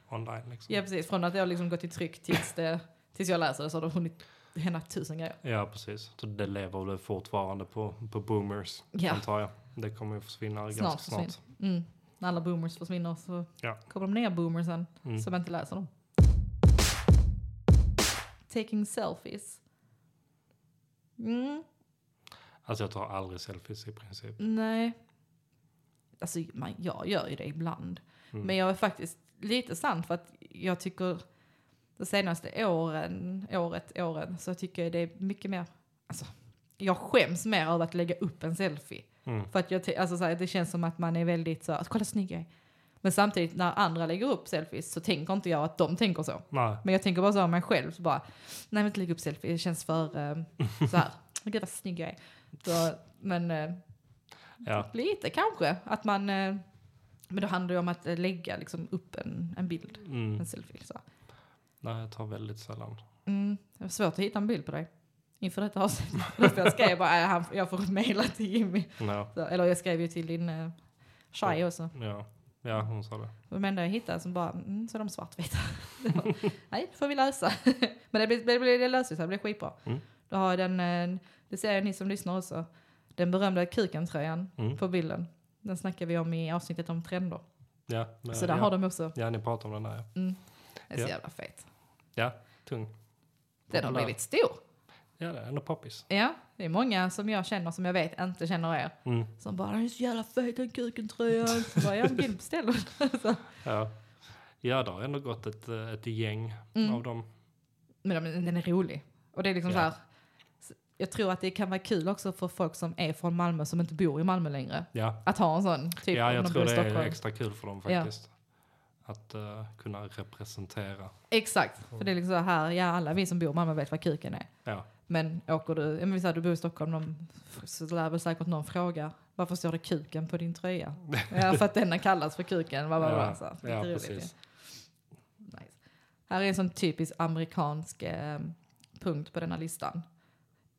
online liksom. Ja precis, från att jag liksom gått i tryck tills, det, tills jag läser det så har det hunnit hända tusen grejer. Ja, precis. Så det lever väl fortfarande på, på boomers, Ja. antar jag. Det kommer ju försvinna Snart ganska snart. Mm. När alla boomers försvinner så Ja. kommer de nya boomersen Mm. som inte läser dem. Taking selfies. Mm, Alltså jag tar aldrig selfies i princip. nej. Alltså man, jag gör ju det ibland. Mm. Men jag är faktiskt lite sant för att jag tycker de senaste åren, året, åren så tycker jag det är mycket mer, alltså jag skäms mer över att lägga upp en selfie. Mm. För att jag, ty- alltså, så här, det känns som att man är väldigt så här, kolla snygg jag är. Men samtidigt när andra lägger upp selfies så tänker inte jag att de tänker så. Nej, Men jag tänker bara så om mig själv, så bara, nej men inte lägga upp selfie, det känns för eh, så här, gud vad snygg jag är. Så, men eh, Ja. Lite kanske. Att man, eh, men då handlar det ju om att eh, lägga liksom, upp en, en bild, Mm. en selfie. Så. Nej, jag tar väldigt sällan. Mm, det var svårt att hitta en bild på dig inför detta avsnittet. För Jag skrev bara "Äh, han- jag får mejla till Jimmy. Ja, Så, eller jag skrev ju till din eh, tjej också. ja. ja hon sa det. Och de enda jag hittade som bara, mm, så är de svartvita. Det var, Nej, det får vi lösa. Men det, blir- det, blir- det löser sig, det blir skitbra. Mm. Då har jag den, eh, det ser jag ni som lyssnar också, den berömda kukentröjan Mm. på bilden. Den snackar vi om i avsnittet om trender. Ja, men- så där ja. har de också. ja, ni pratar om den där. Ja, Den är så Ja. jävla fet. ja tung. Den har Populär. blivit stor. Ja, det är ändå poppis. Ja, det är många som jag känner som jag vet inte känner er. Mm. Som bara, den är så jävla fet den kukentröjan. Så bara, jag vill beställa den. Så. Ja. ja, det har ändå gått ett, eh, ett gäng Mm. av dem. Men de- den är rolig. Och det är liksom Ja. så här, s- jag tror att det kan vara kul också för folk som är från Malmö som inte bor i Malmö längre. Ja, Att ha en sån, typ ja om jag de tror bor i det är Stockholm. extra kul för dem Ja. faktiskt. Att eh, kunna representera. Exakt, för det är liksom så här, ja alla vi som bor i Malmö vet vad kuken är. Ja, Men åker du, ja, men vi säger du bor i Stockholm, de, så lär väl säkert någon fråga, varför står det kuken på din tröja? ja, för att denna kallas för kuken, vad var ja, det? Så, lite ja roligt, precis. ja. Nice. Här är en sån typisk amerikansk eh, punkt på denna listan.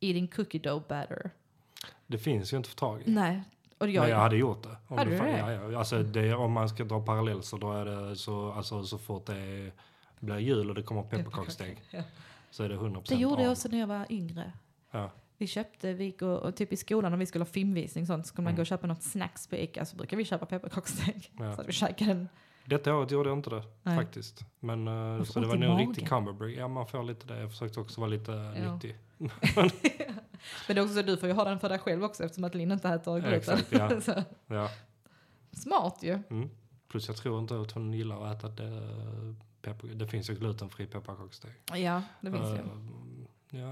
Eating cookie dough batter. Det finns ju inte för tag i. Nej, och Mm, jag, Men jag hade gjort det. Om Hade du fan- det? Mm. Ja, ja. Alltså, det, om man ska dra parallell så då är det så, alltså, så fort det blir jul och det kommer pepparkaksdeg Ja. så är det 100% det gjorde av. jag också när jag var yngre. Ja. Vi köpte, vi gick och, och typ i skolan när vi skulle ha filmvisning och sånt, skulle man gå och köpa något snacks på Ica så brukar vi köpa pepparkaksdeg. Mm. Ja. Så att vi käkade en. Detta året gjorde jag inte det Nej. faktiskt. Men eh, får så det ont var i nog en magen. riktig Cumberbury. Ja, man får lite det. Jag försökte också vara lite Ja. nyttig. Men det är också så att du får ju ha den för dig själv också eftersom att Linn inte äter gluten. Exakt, ja. så, Ja. smart ju. Mm. Plus jag tror inte att hon gillar att äta det. Peppar, det finns ju glutenfri pepparkaksdeg. Ja, det finns ju. Eh, ja,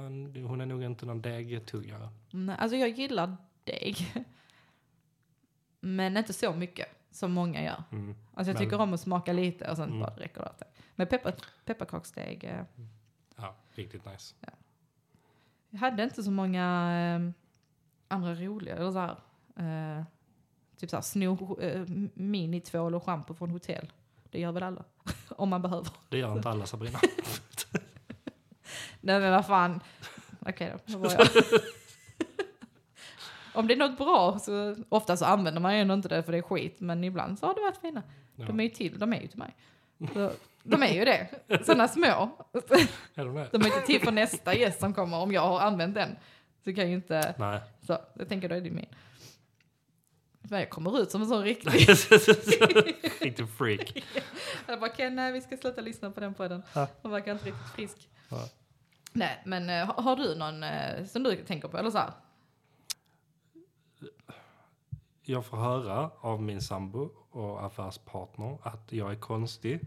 hon är nog inte någon degtuggare. Nej, alltså jag gillar deg. Men inte så mycket som många gör. Mm. Alltså jag Men- tycker om att smaka lite och sen Mm. bara räcker det. åt dig. Men peppar, pepparkaksdeg eh, Ja, riktigt nice. Jag hade inte så många eh, andra roliga, eller så här, eh, typ så här, sno eh, minitvål och schampo från hotell. Det gör väl alla, om man behöver. Det gör inte alla Sabrina. Nej men vad fan, okej då, då var jag. Om det är något bra så ofta så använder man ju ändå inte det för det är skit men ibland så har det varit fina. Ja. De är ju till, de är ju till mig. Så, de är ju det, sådana små. Är de det? De är inte till för nästa gäst som kommer om jag har använt den. Så kan jag ju inte... Nej. Så, jag tänker då är det min. Men jag kommer ut som en sån riktig. Riktig freak. Jag bara, Ken, nej, vi ska sluta lyssna på den podden. Ja. Hon verkar inte riktigt frisk. Ja. Nej, men eh, har, har du någon eh, som du tänker på? Eller så här? Jag får höra av min sambo och affärspartner att jag är konstig.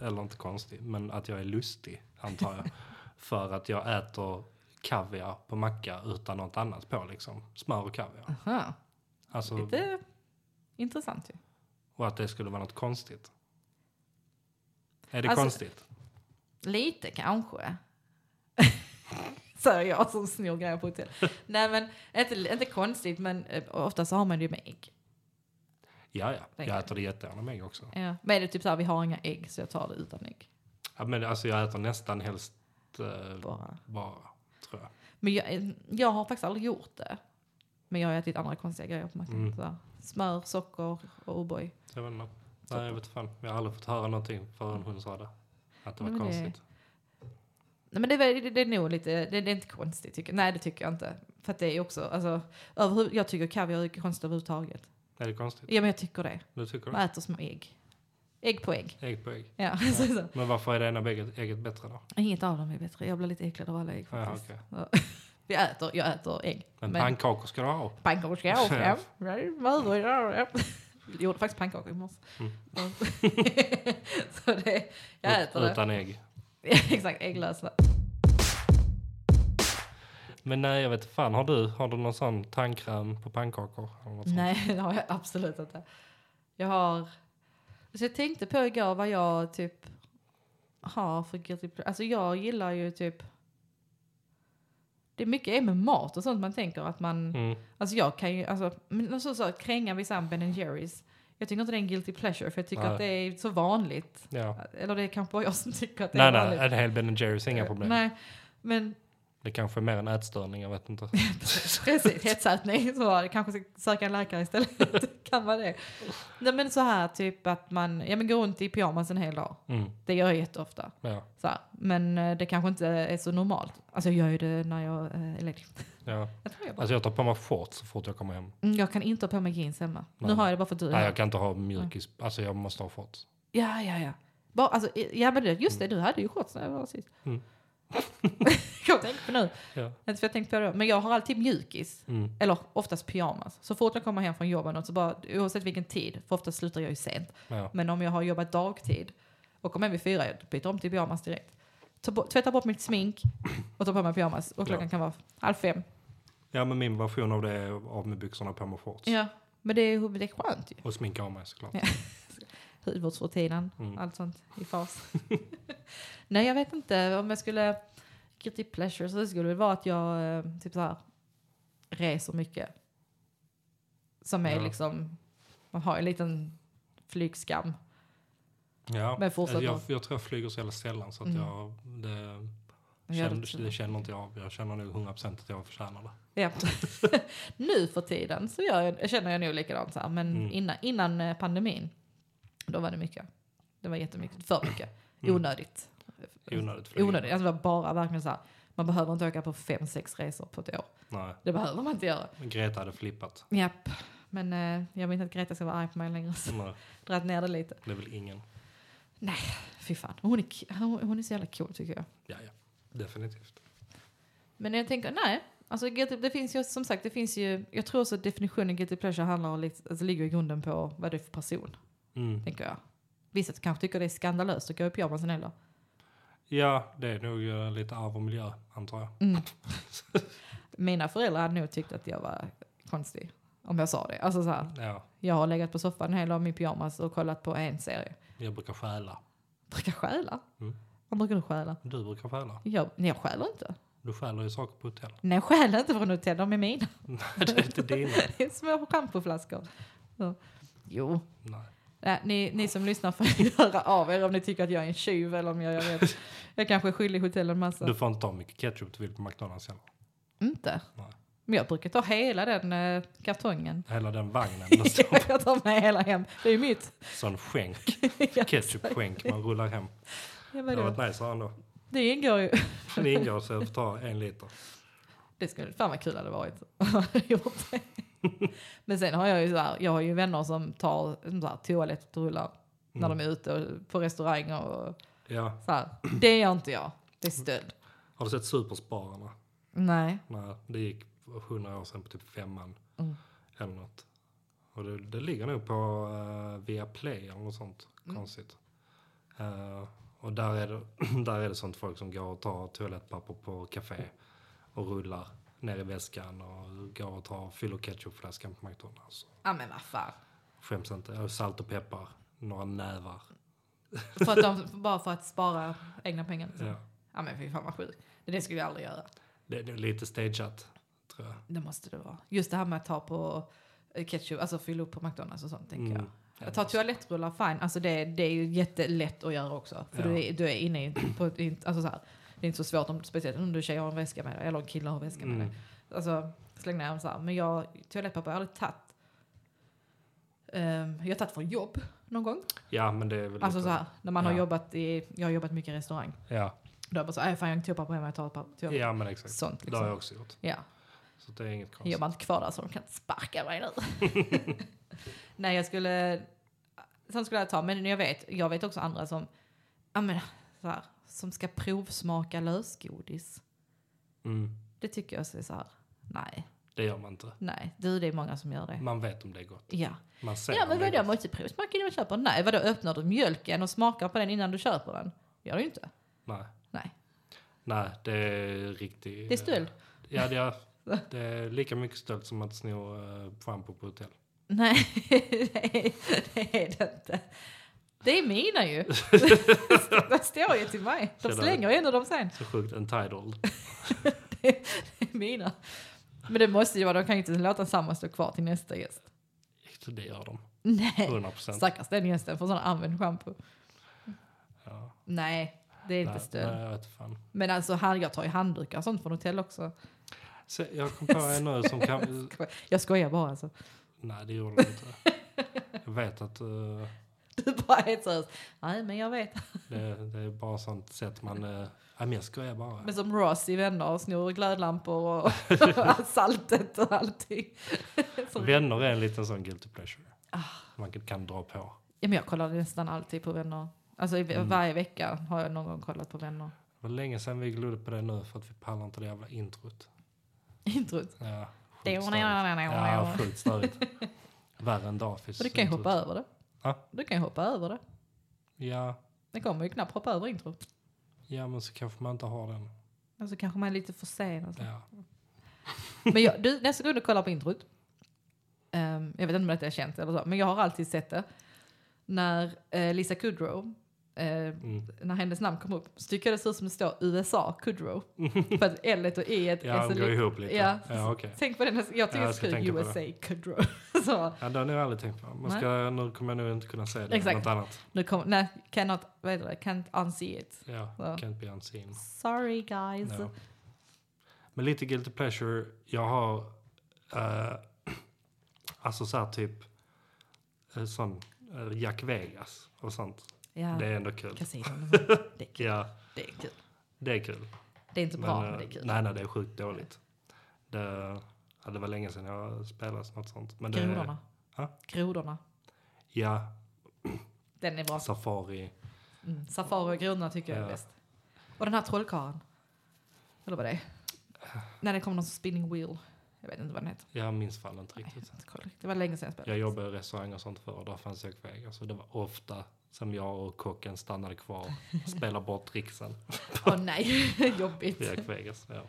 Eller inte konstig, men att jag är lustig, antar jag. För att jag äter kaviar på macka utan något annat på, liksom. Smör och kaviar. Aha, Alltså, lite intressant ju. och att det skulle vara något konstigt. Är det Alltså- konstigt? Lite kanske. Säger jag som snor grejer på hotell. nej, men inte, inte konstigt, men eh, ofta så har man det ju med ägg. Ja, ja. Tänker Jag jag. äter det jättegärna med ägg också. Ja. Men är det typ så här, vi har inga ägg så jag tar det utan ägg. Ja, men alltså, jag äter nästan helst eh, Bara. bara, tror jag. Men jag, eh, jag har faktiskt aldrig gjort det. Men jag har ätit andra konstiga grejer på mackan. Mm. så här. Smör, socker och O'boy. Jag vet inte. Nej, jag vet fan. Jag har aldrig fått höra någonting förrän hon sa det. Att det var Men det- konstigt. Nej men det, är väl- det, det är nog lite, det, det är inte konstigt tycker jag. Nej det tycker jag inte. För att det är också, alltså, överhu- jag tycker kaviar är konstigt överhuvudtaget. Är det konstigt? Ja men jag tycker det. Du tycker Man det? äter små ägg. Ägg på ägg. Ägg på ägg. Ja, så, så. Men varför är det ena ägget, ägget bättre då? Inget av dem är bättre. Jag blir lite äcklad av alla ägg Ja, faktiskt. okay. Vi äter, jag äter ägg. Men, pannkakor ska du ha. Pannkakor ska jag också. Ja. Mödor, ja, ja. Jag gjorde faktiskt pannkakor i morse. Mm. Så- så det, jag äter det. Utan ägg. Exakt, ägglösa. Men nej, jag vet fan. Har du, har du någon sån tandkräm på pannkakor? Eller något sånt? Nej, det har jag absolut inte. Jag har... Så jag tänkte på igår vad jag typ har för guilty pleasure. Alltså jag gillar ju typ... det är mycket är med mat och sånt man tänker att man, Mm. alltså jag kan ju, alltså, men så, så kränga vid Sam Ben Jerrys. Jag tycker inte det är en guilty pleasure för jag tycker Nej. att det är så vanligt. Ja. Eller det är kanske bara jag som tycker att det Nej, är vanligt. nej, en hel Ben Jerrys är inga problem. Nej, men Det kanske är mer en ätstörning, jag vet inte. Precis, hetsätning. Så var det. Kanske ska söka en läkare istället. kan vara det. Nej men så här typ att man ja, men går runt i pyjamas en hel dag. Mm. Det gör jag jätteofta. Ja, Så här. Men eh, det kanske inte är så normalt. Alltså jag gör ju det när jag eh, är ledig. ja. Jag, tror jag, bara. Alltså jag tar på mig shorts så fort jag kommer hem. Mm, jag kan inte ha på mig jeans hemma. Nej. Nu har jag det bara för att du är Nej, här. jag kan inte ha Mm. mjukis. Alltså jag måste ha shorts. Ja, ja, ja. Bara, alltså, i- ja men det, just det, du hade ju shorts när jag var sist. Mm. jag tänkte på nu. Ja. Inte för jag tänkte på det då. Men jag har alltid mjukis. Mm. Eller oftast pyjamas. Så fort jag kommer hem från jobbet något så bara, oavsett vilken tid, för ofta slutar jag ju sent. Ja. Men om jag har jobbat dagtid och kommer hem vid fyra, jag byter om till pyjamas direkt. Ta bo- tvättar bort mitt smink och tar på mig pyjamas. Och klockan Ja. kan vara halv fem. ja, men min version av det är av med byxorna på med shorts. Ja. Men det är, det är skönt ju. Och sminka av mig såklart. Ja. Hudvårdsrutinen, Mm. allt sånt i fas. Nej, jag vet inte. Om jag skulle... Guilty pleasure så skulle det vara att jag eh, typ så här, reser mycket. Som är Ja. liksom... Man har en liten flygskam. Ja. Alltså, Men fortsätt jag, då. jag tror jag flyger så jävla sällan så att Mm. jag, det, Jag gör det känner, till- det känner inte jag av. Jag känner nog 100% att jag förtjänar det. Ja. nu för tiden så gör jag, känner jag nog likadant så här, men Mm. innan, innan eh, pandemin, då var det mycket. Det var jättemycket, för mycket. Mm. Onödigt. Onödigt flyg. Onödigt, alltså det var bara verkligen så här, man behöver inte åka på fem, sex resor på ett år. Nej, Det behöver man inte göra. Greta hade flippat. Japp. Men eh, jag vill inte att Greta ska vara arg på mig längre så Nej, dragit ner det lite. det är väl ingen. Fy fan, hon är, k- hon, hon är så jävla cool tycker jag. Ja, ja. Definitivt. Men jag tänker, nej. Alltså guilty, det finns ju som sagt, det finns ju, jag tror också att definitionen guilty pleasure handlar om, lite- alltså, ligger i grunden på vad det är för person. Mm. tänker jag. Vissa kanske tycker det är skandalöst att gå i pyjamasen eller? Ja, det är nog eh, lite arv och miljö, antar jag. Mina föräldrar hade nog tyckt att jag var konstig om jag sa det. Alltså så här, Ja, jag har legat på soffan hela dagen i min pyjamas och kollat på en serie. jag brukar stjäla. Brukar stjäla? Mm. Vad brukar du stjäla? Du brukar stjäla. Jag, nej, jag stjäl inte. Du stjäler ju saker på hotell. Nej, jag stjäl inte från hotell, de är mina. Nej, det är inte dina. Det är Små schampoflaskor. Så. Jo. Nej. Nej, ni, ni som lyssnar får göra av er om ni tycker att jag är en tjuv eller om jag gör rätt. Jag kanske är skyldig hotellen massa. Du får inte ta mycket ketchup du vill på McDonalds heller. Inte? Nej. Men jag brukar ta hela den eh, kartongen. Hela den vagnen. Ja, Det står jag tar med hela hem. Det är ju mitt. sån skänk. Ja, Ketchup-skänk man rullar hem. ja, Det vadå? hade varit nice att ha ändå. Det ingår ju. Det ingår så jag får ta en liter. Det skulle fan vad kul det hade varit. om jag hade gjort det. Men sen har jag ju så här, jag har ju vänner som tar som så här, toalettrullar när de är ute och- på restauranger och Ja. så här. Det gör inte jag. Det är stöld. Har du sett Superspararna? Nej. Nej, det gick hundra år sedan på typ femman. Mm. Eller något. Och det, det ligger nog på uh, Viaplay eller något sånt konstigt. Eh, och där är, det, där är det sånt folk som går och tar toalettpapper på café och rullar ner i väskan och går och tar, fyller ketchupflaskan på McDonalds. Ja men vad fan. Skäms inte. Och salt och peppar. Några nävar. För att de, bara för att spara egna pengar. Liksom. Ja. Ja. men fy fan vad sjukt. Det skulle jag aldrig göra. Det är nog lite stageat, tror jag. Det måste det vara. Just det här med att ta på eh, ketchup, alltså fylla upp på McDonalds och sånt tänker Mm. jag. Att ta toalettrullar, fine. Alltså det, det är ju jättelätt att göra också. För Ja. du, är, du är inne i, på, ett- i- alltså så här, det är inte så svårt, om, speciellt om du tjejer har en väska med dig, eller om killar har en väska med Mm. dig. Alltså, släng ner dem så här. Men jag, toalettpapper har jag aldrig tagit. Ehm, jag har tagit från jobb någon gång. Ja, men det är väl Alltså lite, så här, när man Ja. har jobbat i, jag har jobbat mycket i restaurang. Ja. Då har jag bara så här, "Äh, fan jag har inte toapapper hemma, jag tar ett papper. toapapper." ja, men exakt. Sånt Det har jag liksom. också gjort. Ja. Så det är inget konstigt. Jag jobbar inte kvar där så de kan inte sparka mig nu. Nej jag skulle, sånt skulle jag ta, men jag vet, jag vet också andra som, ja men så här, som ska provsmaka lösgodis. Mm. Det tycker jag är så här, nej, Det gör man inte. nej, du det är många som gör det. Man vet om det är gott. Ja, Man ser ja Mm. om men det är vadå, jag gott. måste provsmaka innan jag köper? Nej, vadå öppnar du mjölken och smakar på den innan du köper den? Gör du inte. Nej. Nej, Nej, det är riktigt... det är stöld. Ja, det är, det är lika mycket stöld som att sno uh, schampo på hotell. Nej, det är det, är det inte. Det är mina ju. det står ju till mig. De Tjena. slänger ju ändå dem sen. Så sjukt entitled. det är mina. Men det måste ju vara, de kan ju inte låta samma stå kvar till nästa gäst. Så det gör de. Nej, 100 procent. stackars den gästen får sån använd shampoo. Ja. Nej, det är inte stöd. Nej, jag vet fan. Men alltså här, jag tar ju handdukar och sånt från hotell också. Så jag kom på en nu som kan... Jag skojar bara alltså. Nej, det gjorde de inte. Jag vet att eh, Du bara är seriös. Nej men jag vet. det, det är bara sånt sätt man... Uh, men jag skojar bara. Men som Ross i Vänner och snor glödlampor och saltet och allting. som- Vänner är en liten sån guilty pleasure. Ah. Man kan, kan dra på. Ja, men jag kollar nästan alltid på Vänner. Alltså i, varje vecka har jag någon gång kollat på Vänner. Det var länge sedan vi glodde på det nu för att vi pallar inte det jävla introt. Introt. Ja, sjukt Det- störigt. Ja, sjukt störigt. Värre än Dafis. Så du kan ju hoppa över det. Ja. Du kan ju hoppa över det. Ja, Det kommer ju knappt hoppa över introt. ja, men så kanske man inte har den. Alltså kanske man är lite för sen. alltså. Och så. Ja. Men jag, du, nästa gång du kollar på introt. ehm, jag vet inte om detta är känt eller så. Men jag har alltid sett det. När eh, Lisa Kudrow. eh, Mm. när hennes namn kom upp så tycker jag det ser ut som det står USA Kudrow. För att L och E Ja, är så de går li- ihop lite. Ja. ja okej. Tänk på det nästa Jag tycker Ja, det jag ska skriver tänka på USA Kudrow. Så, Ja, det har jag aldrig tänkt på. Man ska, nu kommer jag nog inte kunna säga det. Exakt. Något annat. nu kommer, nej, cannot, vad heter det, can't unsee it. Ja, Ja. can't be unseen. Sorry guys. Ja. Men lite guilty pleasure. Jag har eh, alltså så här typ eh, sån eh, Jack Vegas och sånt. Ja, Det är ändå kul. kasinon. Det är kul. Ja, Det är kul. det är kul. Det är inte bra, eh, men det är kul. Nej, nej, det är sjukt dåligt. Det, ja, det var länge sedan jag spelade något sånt. Men det, Grodorna. Ja. Grodorna. ja, Den är bra. Safari. Mm. Safari och grodorna tycker jag är Ja. bäst. Och den här trollkarlen. Eller vad det är. Ah. När det kommer någon spinning wheel. Jag vet inte vad den heter. Jag minns fan inte Nej, jag riktigt. har inte koll. Det var länge sedan jag spelade. Jag jobbade i restaurang och sånt förr och där fanns Jack Vegas. Och det var ofta som jag och kocken stannade kvar och spelade bort tricksen Åh nej, jobbigt. för Jack Vegas. Ja.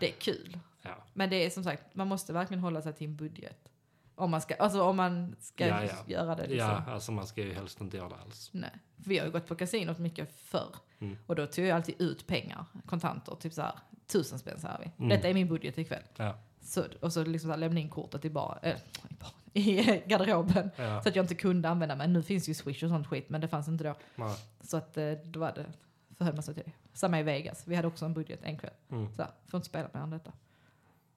Det är kul. Ja. Men det är som sagt, man måste verkligen hålla sig till en budget. Om man ska, alltså om man ska Ja, ja. göra det. Liksom. Ja, alltså man ska ju helst inte göra det alls. Nej. Vi har ju gått på kasinot mycket förr. Mm. Och då tog jag alltid ut pengar, kontanter, typ så här, tusen spänn så här vi. Mm. Detta är min budget ikväll. Ja. Så, och så liksom så här, lämna in kortet i, bar, eh, i, bar, i garderoben. Ja, Så att jag inte kunde använda mig. Nu finns ju Swish och sånt skit, men det fanns inte då. nej. Så att eh, då var det, förhöll man sig till det. Samma i Vegas, vi hade också en budget en kväll. Mm. Så här, får inte spela mer än detta.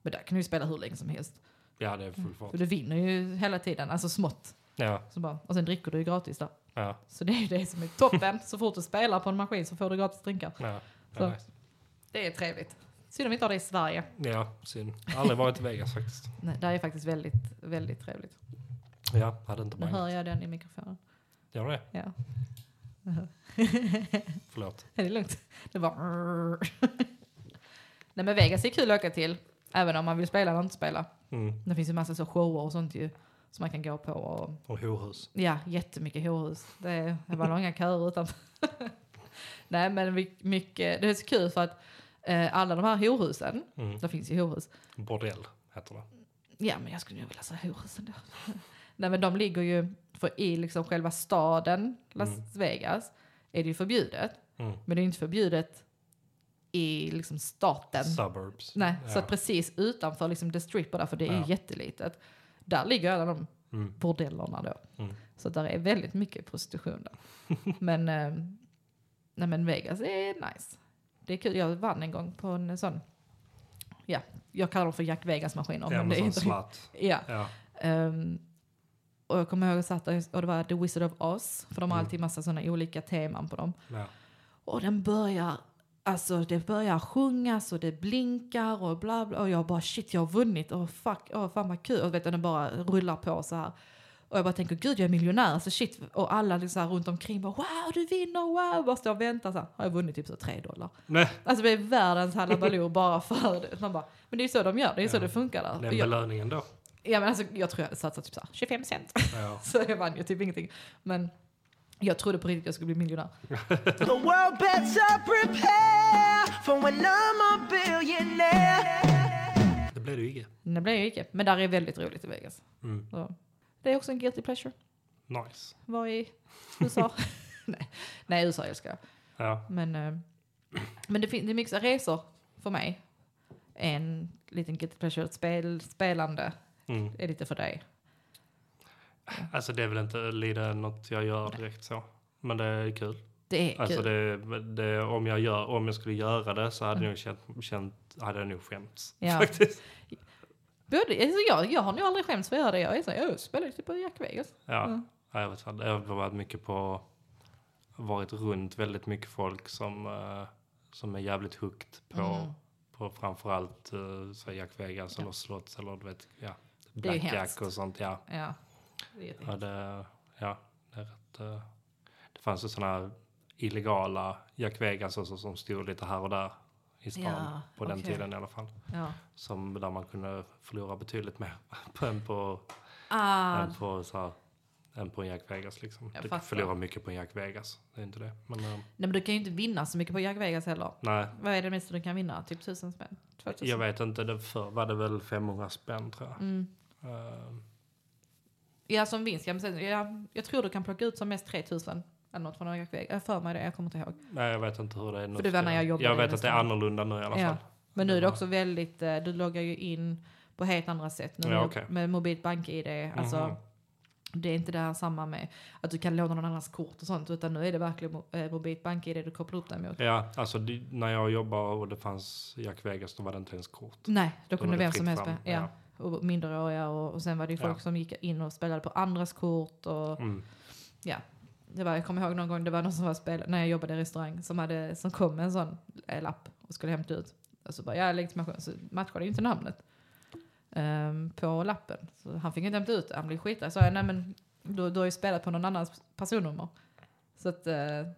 Men där kan du ju spela hur länge som helst. ja det är full fart. Mm. För du vinner ju hela tiden, alltså smått. Ja, Så bara, och sen dricker du ju gratis där. ja, Så det är ju det som är toppen. Så fort du spelar på en maskin så får du gratis drinkar. ja. Så. Ja, nice. Det är trevligt. Synd om vi inte har det i Sverige. ja synd. Aldrig varit i Vegas faktiskt. Nej, det är faktiskt väldigt, väldigt trevligt. Ja, hade inte Nu hör bangat. jag den i mikrofonen. Gör det? Ja. Förlåt. Det är lugnt. Det var... Nej men Vegas är kul att åka till. Även om man vill spela eller inte spela. Mm. Det finns ju massa så shower och sånt ju. Som man kan gå på och Och horhus. Ja, jättemycket horhus. Det, det var långa köer utanför. Nej, men vi- mycket, det är så kul för att eh, alla de här horhusen, Mm. det finns ju horhus. Bordell heter det. Ja, men jag skulle nog vilja säga horhusen då. Nej, men de ligger ju, för i liksom själva staden Las Mm. Vegas är det ju förbjudet. Mm. Men det är inte förbjudet i liksom staten. Suburbs. Nej, ja. så att precis utanför liksom the strip och där, för det är ju Ja. jättelitet. Där ligger alla de Mm. bordellerna då. Mm. Så där är väldigt mycket prostitution där. men, eh, nej men Vegas är nice. Det är kul, jag vann en gång på en sån, ja, jag kallar dem för Jack Vegas-maskiner. Ja, men det är men inte- sån svart. Ja. Ja. Ehm, och jag kommer ihåg att jag satt där och det var The Wizard of Oz, för de har Mm. alltid massa sådana olika teman på dem. Ja. Och den börjar, alltså det börjar sjungas och det blinkar och bla bla. Och jag bara shit jag har vunnit och fuck, åh fan vad kul. Och vet du, den bara rullar på så här. Och jag bara tänker gud jag är miljonär, alltså shit. Och alla liksom så här runt omkring bara wow du vinner, wow. Bara står och väntar så här. Har jag vunnit typ så tre dollar? Nej, Alltså det är världens halabaloo bara för det. Man bara, men det är ju så de gör, det är ju så Ja. det funkar där. Och den Jag, belöningen då. ja men alltså jag tror jag hade satsat typ så här 25 cent. Ja. Så jag vann ju typ ingenting. Men jag trodde på riktigt jag skulle bli miljonär. The world better prepare for when I'm a billionaire. Det blev det ju inget. Men Det blev jag icke. Men där är väldigt roligt i Vegas. Mm. Så. Det är också en guilty pleasure. Nice. Var i USA. Nej. Nej, USA älskar jag. Ja. Men, eh, men det, fin- det är mycket så här resor för mig. en liten Guilty Pleasure-spel, spelande Mm. är lite för dig. Alltså det är väl inte lida något jag gör direkt så. Men det är kul. Det är Alltså kul. det, det, om, jag gör, om jag skulle göra det så hade jag nog, känt, känt, hade jag nog skämts. Ja. Faktiskt. Både, alltså jag, jag har nog aldrig skämts för att göra det. Jag är så här, jag spelar typ på Jack Vegas. Ja. Mm. Ja, jag vet fan. Jag har varit mycket på, varit runt väldigt mycket folk som, eh, som är jävligt hooked på, Mm. på framförallt uh, så här Jack Vegas eller Slotts eller du vet, ja. Det är ju Blackjack hemskt. och sånt. Ja. Ja. Det är Ja, det, ja, det är rätt. eh, Det fanns ju sådana här illegala Jack Vegas också som stod lite här och där i stan Ja, på den okej. tiden i alla fall. ja. Som där man kunde förlora betydligt mer på än på, Ah, än på, så här, än på en Jack Vegas liksom. Jag Du kan fattar. förlora mycket på en Jack Vegas, det är inte det. Men eh, nej, men du kan ju inte vinna så mycket på Jack Vegas heller. nej, Vad är det minsta du kan vinna? Typ tusen spänn? 2000? jag vet inte. Det förr var det väl 500 spänn tror jag. Eh, Mm. Ja, som vinst. Ja, men sen, ja, jag tror du kan plocka ut som mest 3000 eller något från Jack Vegas. Jag har för mig det, jag kommer inte ihåg. nej, jag vet inte hur det är nu. För det var när jag jobbade jag vet i att det är restaurang. annorlunda nu i alla Ja. fall. Men nu är det Ja. också väldigt, eh, du loggar ju in på helt andra sätt nu Ja, okej. med mobilt bank-id. Alltså, Mhm. Det är inte det här samma med att du kan låna någon annans kort och sånt utan nu är det verkligen mo- eh, mobilt bank-id du kopplar upp dig mot. Ja, alltså det, när jag jobbade och det fanns Jack Vegas, då var det inte ens kort. Nej, då kunde var det vem som fritt helst fram, spela. Ja. Och minderåriga och, och sen var det ju folk Ja. som gick in och spelade på andras kort och Mm. ja. Det var, jag kommer ihåg någon gång det var någon som var spelare, när jag jobbade i restaurang som, hade, som kom med en sån eh, lapp och skulle hämta ut. Och så bara, ja legitimation, så matchade ju inte namnet ehm, på lappen. Så han fick inte hämta ut det, han blev skitarg. Så sa jag, nej men du, du har ju spelat på någon annans personnummer. Så att eh,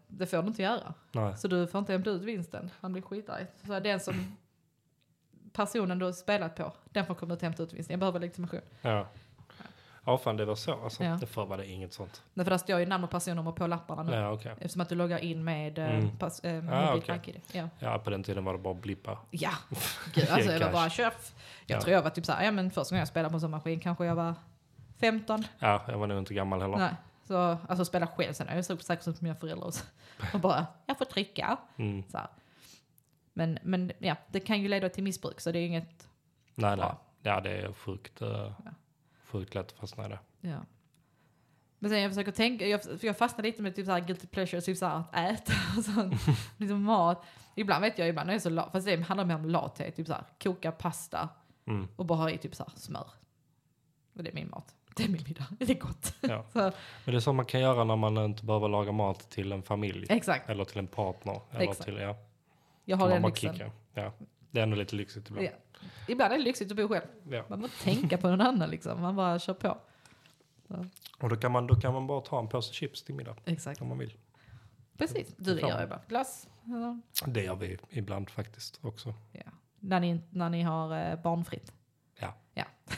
det får du inte göra. Nej. Så du får inte hämta ut vinsten. Han blir skitarg. Så sa jag, den som personen du har spelat på, den får komma ut och hämta ut vinsten. Jag behöver legitimation. Ja. ja, fan det var så alltså. Ja. Det förr var det inget sånt. Nej, för där står ju namn och personnummer på lapparna nu. Ja, okej. Eftersom att du loggar in med Mm. mm. pass, eh, Ah, mobil okej. BankID. Ja. Ja, på den tiden var det bara blippa. ja, gud alltså jag var bara tjoff. Jag Ja. tror jag var typ såhär, ja men första gången jag spelade på en sån maskin kanske jag var 15. Ja, jag var nog inte gammal heller. Nej. Så, alltså spela själv sen, jag såg säkert ut som mina föräldrar och, så, och bara, jag får trycka. Mm. Så här. Men, men ja, det kan ju leda till missbruk så det är inget, Nej, nej. Ja. Ja, det är sjukt, eh, sjukt lätt att fastna i det. ja. Men sen jag försöker tänka, jag, för jag fastnar lite med typ såhär guilty pleasure, typ såhär att äta och sånt. liksom mat. Ibland vet jag, ibland är jag så lat, fast det handlar mer om lathet, typ såhär koka pasta. Mm. Och bara ha i typ så här smör. Och det är min mat. Det är min middag. Det är gott. Ja. så, Men det är så man kan göra när man inte behöver laga mat till en familj. exakt. Eller till en partner. Eller Exakt. till, ja. Jag har Kan man den bara lyxen. kicka. Ja. Det är ändå lite lyxigt ibland. Ja. Ibland är det lyxigt att bo själv. Ja. Man måste tänka på någon annan liksom. Man bara kör på. Och då kan, man, då kan man bara ta en påse chips till middag. Exakt. Om man vill. Precis. Du det Fan. gör jag bara. Glass. eller- Det gör vi ibland faktiskt också. Ja. När, ni, när ni har eh, barnfritt. Ja. ja.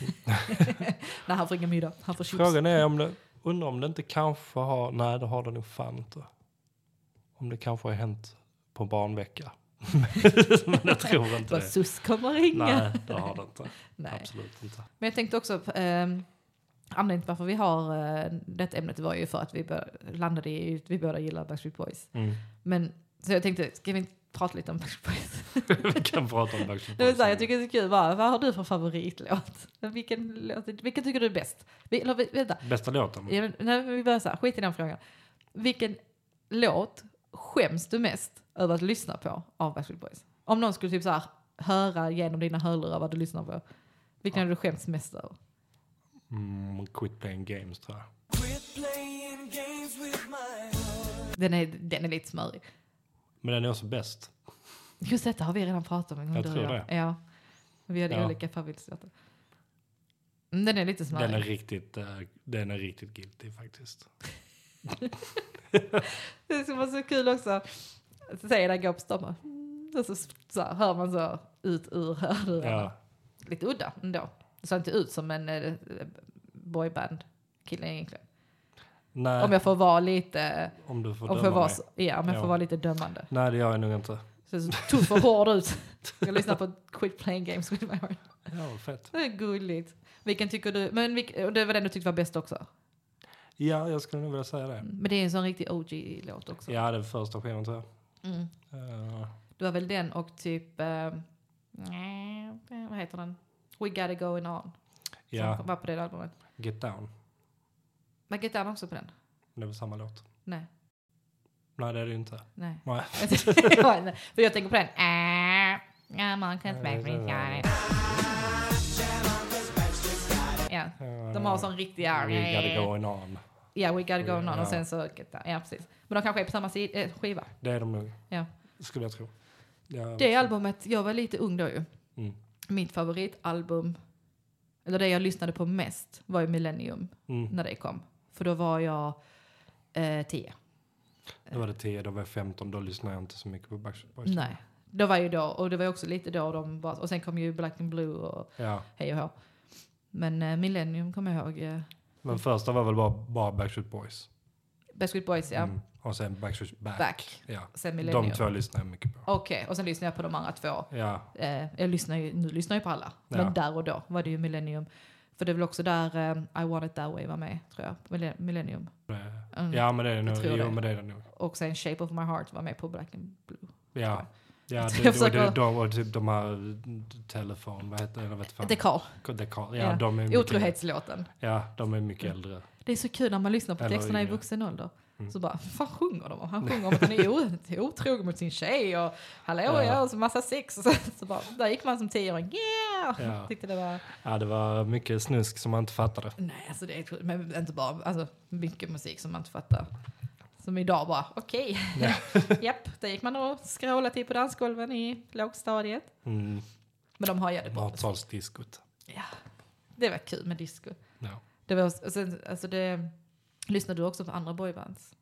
när han får ingen middag. Han får chips. Frågan är om det, undrar om det inte kanske har, nej det har det nog fan inte. Om det kanske har hänt på barnvecka. Men jag tror inte Bara det. sus kommer ringa. Nej, det har det inte. Nej. Absolut inte. Men jag tänkte också, um, anledningen till varför vi har eh, detta ämnet var ju för att vi bör, landade i att vi båda gillar Backstreet Boys. Mm. Men så jag tänkte, ska vi inte prata lite om Backstreet Boys? Vi kan prata om Backstreet Det vill Boys. säga, jag tycker det är så kul, bara, vad har du för favoritlåt? Men Vilken, låt, vilken tycker du är bäst? Vi, eller, vi- vänta, Bästa låten? Ja, men när vi börjar så här, skit i den frågan. Vilken låt skäms du mest över att lyssna på av Backstreet Boys? Om någon skulle typ så här, höra genom dina hörlurar vad du lyssnar på, vilken har du skämts mest över? Mm, quit playing games tror jag. Quit playing games with my Den är, den är lite smörig. Men den är också bäst. Just detta har vi redan pratat om en gång. Jag du och tror det. Ja. Vi hade Ja. olika favoritlåtar. Mm, Den är lite smörig. Den är, riktigt, eh, den är riktigt guilty faktiskt. Det som var så kul också. Säger den går på stan bara, mm, och så, så här, hör man så ut ur hörlurarna. Ja. Lite udda ändå. Det såg inte ut som en eh, boyband-kille egentligen. Nej, Om jag får vara lite, om du får om döma jag vara, mig. så- ja, om jag Ja. får vara lite dömande. Nej, det gör jag nog inte. Så, så tog för hård ut. Jag lyssnar på Quit Playing Games With My Heart. Ja, vad fett. Det är gulligt. Vilken tycker du, men vilk, och det var den du tyckte var bäst också? Ja, jag skulle nog vilja säga det. Men det är en sån riktig OG-låt också. Ja, den första skivan tror jag. Mm. Eh, Du har väl den och typ... Eh, ehm, nej, eh, vad heter den? We gotta going on. Ja, Som var på det albumet. Get Down. Men Get Down också på den? Det är väl samma låt? Nej, Nej, det är det ju inte. nej. Nej. För jag tänker på den. Ah, I'm on Chris Backstreet's got it. Ja, de har sån riktig... Ja, We gotta go on. yeah, we gotta go Ja. on. Och sen så... Ja, precis. Men de kanske är på samma si- eh, skiva. Det är de nog, Ja. skulle jag tro. Ja, Det albumet, jag var lite ung då ju. Mm. Mitt favoritalbum, eller det jag lyssnade på mest, var ju Millennium Mm. när det kom. För då var jag eh, tio. Då var det 10, då var jag 15, då lyssnade jag inte så mycket på Backstreet Boys. Nej. Det var ju då, och det var ju också lite då de bara, och sen kom ju Black and Blue och Ja. hej och hå. Men eh, Millennium kommer jag ihåg. Eh, Men första var väl bara, bara Backstreet Boys. Backstreet Boys, ja. Mm. Och sen Backstreet Back. Back. Ja. De Sen Millennium. två lyssnade jag mycket på. Okej, och sen lyssnade jag på de andra två. Ja, Eh, jag lyssnar ju, nu lyssnar jag på alla, Ja. men där och då var det ju Millennium. För det är väl också där eh, I want it that way var med, tror jag. Mille- Millennium. det- Mm. ja men det är det nog. tror Jo, det. men det är det nog. Och sen Shape of my heart var med på Black and Blue. Ja. Ja, Jag det, det, försöker- det, de, och typ de här telefon, vad heter det, jag vet fan. The Car, The Car. Ja, Ja. Mm. de är mycket, otrohetslåten. Ja, de är mycket äldre. Det är så kul när man lyssnar på Eller texterna i yngre. vuxen ålder. Så bara, fan sjunger de om? Han sjunger om att han är o- otrogen mot sin tjej och hallå, Ja. ja. jag har så massa sex. Och så, så bara, där gick man som tioåring, yeah! Ja. Tyckte det var, Ja, det var mycket snusk som man inte fattade. nej alltså det är sjukt, men inte bara, alltså mycket musik som man inte fattar. Som idag bara, okej, japp, där gick man och skrålade till på dansgolven i lågstadiet. Mm. Men de har ju det bra. Bartalsdiskot. Ja. Det var kul med disco. Ja. Det var, och sen, alltså det, lyssnade du också på andra boybands?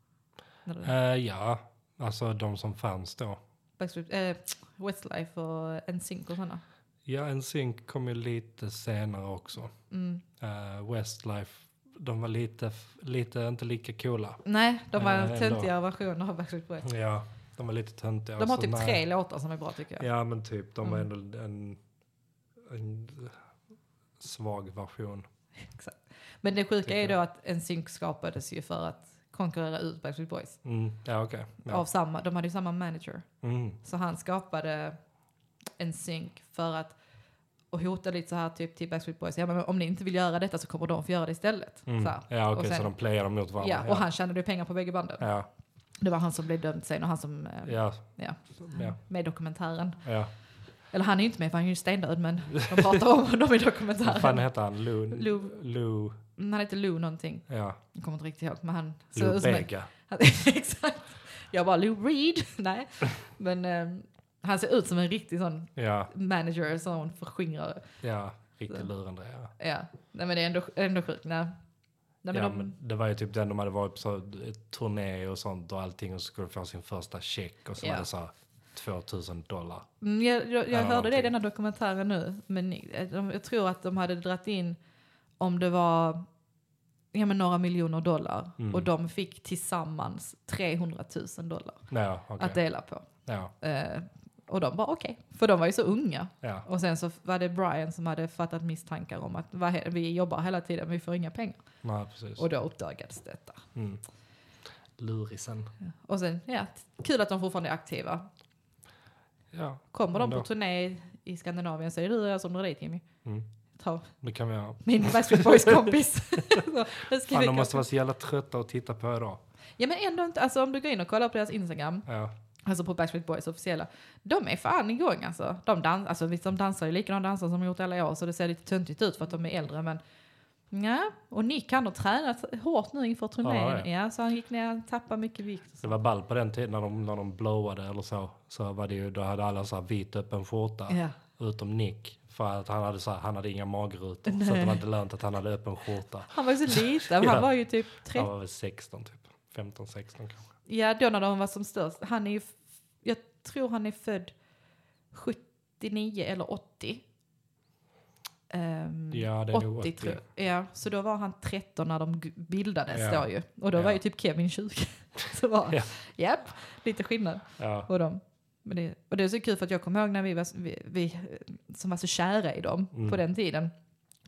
När du- Eh, ja, alltså de som fanns då. Backstreet, eh, Westlife och NSYNC och sådana. Ja, NSYNC kom ju lite senare också. Mm. Eh, Westlife, de var lite, f- lite inte lika coola. Nej, de var Eh, ändå. töntigare versioner av Backstreet Boys. Ja, de var lite töntiga. De har Så typ nej. tre Mm. låtar som är bra tycker jag. Ja, men typ. De var ändå en, en svag version. Men det sjuka är ju Tycker då att NSYNC skapades ju för att konkurrera ut Backstreet Boys. Mm. Ja, okej. Av Ja. samma, de hade ju samma manager. Mm. Så han skapade NSYNC för att och hotade lite så här typ till Backstreet Boys. Ja men om ni inte vill göra detta så kommer de få göra det istället. Mm. Så, här. Ja, okej, och sen- så de playar dem mot varandra. ja, och han tjänade ju pengar på bägge banden. ja. Det var han som blev dömd sen och han som eh, Ja, ja, ja, med i dokumentären. ja. Eller han är ju inte med för han är ju stendöd men de pratar om honom i Vad fan dokumentären. heter han? Lou? Lou. Lou. Mm, Han heter Lou någonting. Ja. Jag kommer inte riktigt ihåg men han... ser Lou ut som en- Bega. han- Exakt. Jag bara Lou Reed. Nej. Men eh, han ser ut som en riktig sån Ja, manager, sån förskingrare. ja. Riktigt Så. lurande. Ja. Ja. Nej men det är ändå, ändå sjukt. Nej. Nej, men ja, de, men det var ju typ den de hade varit på så, turné och sånt och allting och så skulle de få sin första check och så Ja. var det så här 2000 dollar. Mm, jag jag, Ja, jag hörde det i någonting. den här dokumentären nu, men eh, de, jag tror att de hade dratt in om det var ja, men några miljoner dollar Mm. och de fick tillsammans 300 000 dollar Ja, okej. att dela på. Ja, Eh, och de bara okej, för de var ju så unga. ja. Och sen så var det Brian som hade fattat misstankar om att vad he- vi jobbar hela tiden, vi får inga pengar. Nej, precis. Och då uppdagades detta. Mm. Lurisen. Och sen, ja, t- kul att de fortfarande är aktiva. Ja, Kommer de på Ändå. turné i Skandinavien så är det du och jag som drar dit Jimmy. Mm. Ta det kan vi göra. min Backstreet Boys-kompis. Så, nu ska Fan, de vi gå. måste vara så jävla trötta att titta på idag. Ja men ändå inte, alltså om du går in och kollar på deras Instagram, Ja, alltså på Backstreet Boys officiella, de är fan igång alltså. De, dans, alltså, visst, de dansar ju likadana danser som de gjort alla år så det ser lite töntigt ut för att de är äldre men Ja, och Nick han har tränat hårt nu inför turnén. Ja, Ja, så han gick ner och tappade mycket vikt. och det så. var ball på den tiden när de, när de blowade eller så. Så var det ju, då hade alla så här vit öppen skjorta. Ja. Utom Nick. För att han hade, så här, han hade inga magrutor. Så att det var inte lönt att han hade öppen skjorta. Han var ju så liten, Ja. han var ju typ Han 30. var väl 16 typ. 15, 16 kanske. Ja, då när de var som störst. Han är ju, f- jag tror han är född 79 eller 80. Ehm, Ja, det är 80, nog 80. tror jag. Ja, så då var han 13 när de g- bildades Ja. då ju. Och då Ja. var ju typ Kevin 20. så var Ja. ja. Japp, lite skillnad Ja. på dem. Men det, och det är så kul för att jag kommer ihåg när vi, var, vi, vi eh, som var så kära i dem Mm. på den tiden.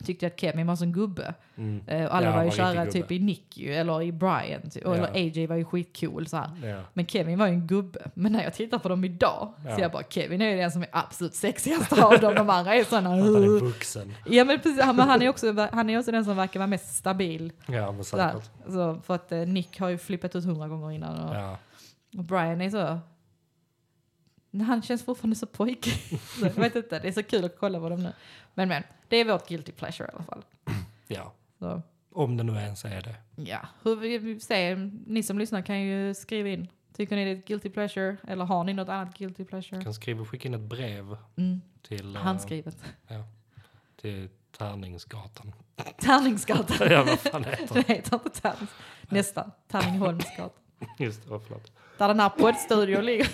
tyckte jag att Kevin var som gubbe. Mm. Eh, Och alla Ja, han var ju var riktig kära gubbe. typ i Nick ju, eller i Brian. Typ. Och- Ja. Eller AJ var ju skitcool så här. Ja. Men Kevin var ju en gubbe. Men när jag tittar på dem idag Ja. så jag bara Kevin är ju den som är absolut sexigast av dem. De andra är Han är sådana. vuxen. Ja men precis, han, men han är också, han är också den som verkar vara mest stabil. Ja, men Sådär. säkert. Så, för att eh, Nick har ju flippat ut hundra gånger innan. Och, Ja. och Brian är så... Nej, Han känns fortfarande så pojkig. Så jag vet inte, det är så kul att kolla på dem nu. Men men, det är vårt guilty pleasure i alla fall. ja, Så, om det nu ens är det. ja, hur vi- vi säger, ni som lyssnar kan ju skriva in. Tycker ni det är ett guilty pleasure? Eller har ni något annat guilty pleasure? Du kan skriva, skicka in ett brev Mm, till, eh, handskrivet. till Tärningsgatan. Tärningsgatan. ja, vad fan heter Det det? heter inte Tärnings... Nästan. Tärningholmsgatan. Just det, vad förlåt. Där den här poddstudion ligger.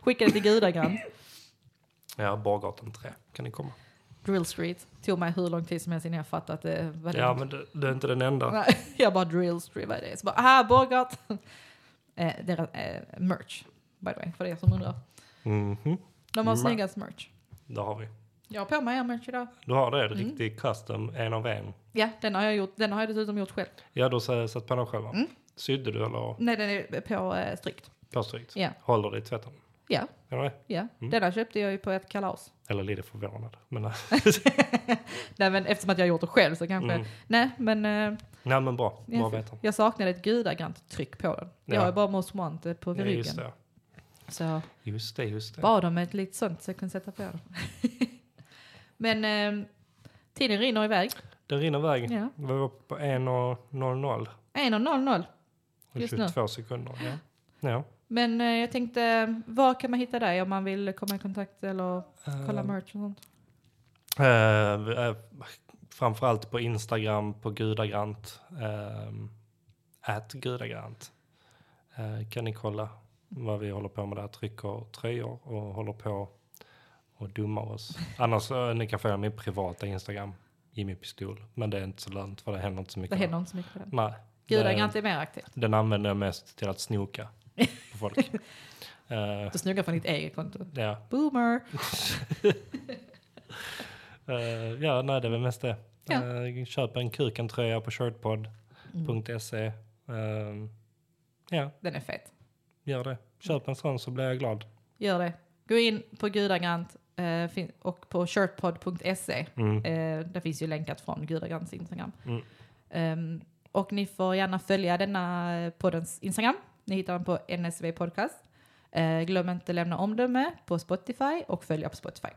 Skicka det till Gudagrann. Ja, Bargatan 3 kan ni komma. Drill Street. Tog mig hur lång tid som helst innan jag fattade att det var det. Ja, men du, du är inte den enda. Nej, jag bara Drill Street, vad är det? Så bara, ah, Borgatan. Eh, deras eh, merch, by the way, för er som undrar. Mhm, De har Merch. snyggast merch. det har vi. Jag har på mig er merch idag. Du har det, mm. riktig custom, en av en. Ja, den har jag, gjort, den har jag dessutom gjort själv. Ja, då sa- satt på den själva. Mm. Sydde du eller Nej, den är på eh, strikt. påstrykt? Ja. Håller det i tvätten? Ja, Är du med? ja. Mm. Den här köpte jag ju på ett kalas. Eller lite förvånad. Men, eh, Nej, men eftersom att jag har gjort det själv så kanske... Mm. Nej, men... Eh, nej, men bra. Bra att jag, veta. jag saknade ett gudagrant tryck på den. Jag Ja. har ju bara Mosmante på Ja, ryggen. just det. Så Just det, just det. bad om ett litet sånt så jag kunde sätta på den. men eh, tiden rinner iväg. Den rinner iväg. Ja. Vi var på 1.00 1 och 0 0. och Just nu. 22 sekunder. Ja. Ja. Men eh, jag tänkte, var kan man hitta dig om man vill komma i kontakt eller kolla merch och sånt? Eh, Ehm, vi är framförallt på Instagram, på gudagrant. ehm, At gudagrant. Eh, kan ni kolla vad vi håller på med där. Trycker tröjor och håller på och dummar oss. Annars eh, ni kan följa min privata Instagram, Jimmy Pistol. Men det är inte så lönt för det händer inte så mycket. Det händer inte så mycket på den. Nej. Gudagrant Den, är mer aktivt. den använder jag mest till att snoka på folk. Eh, Du snuggar från ditt eget konto. ja. Boomer! Eh, ja, nej det är väl mest det. Ja. Eh, köp en kukentröja på shirtpod.se. Eh, ja, Mm. Den är fet. gör det. Köp en sån så blir jag glad. Gör det. Gå in på gudagrant eh, fin- och på shirtpod.se. Mm. Eh, där finns ju länkat från gudagrants Instagram. Mm. Ehm, och ni får gärna följa denna eh, poddens Instagram. Ni hittar den på NSV Podcast. Eh, glöm inte lämna omdöme på Spotify och följa på Spotify.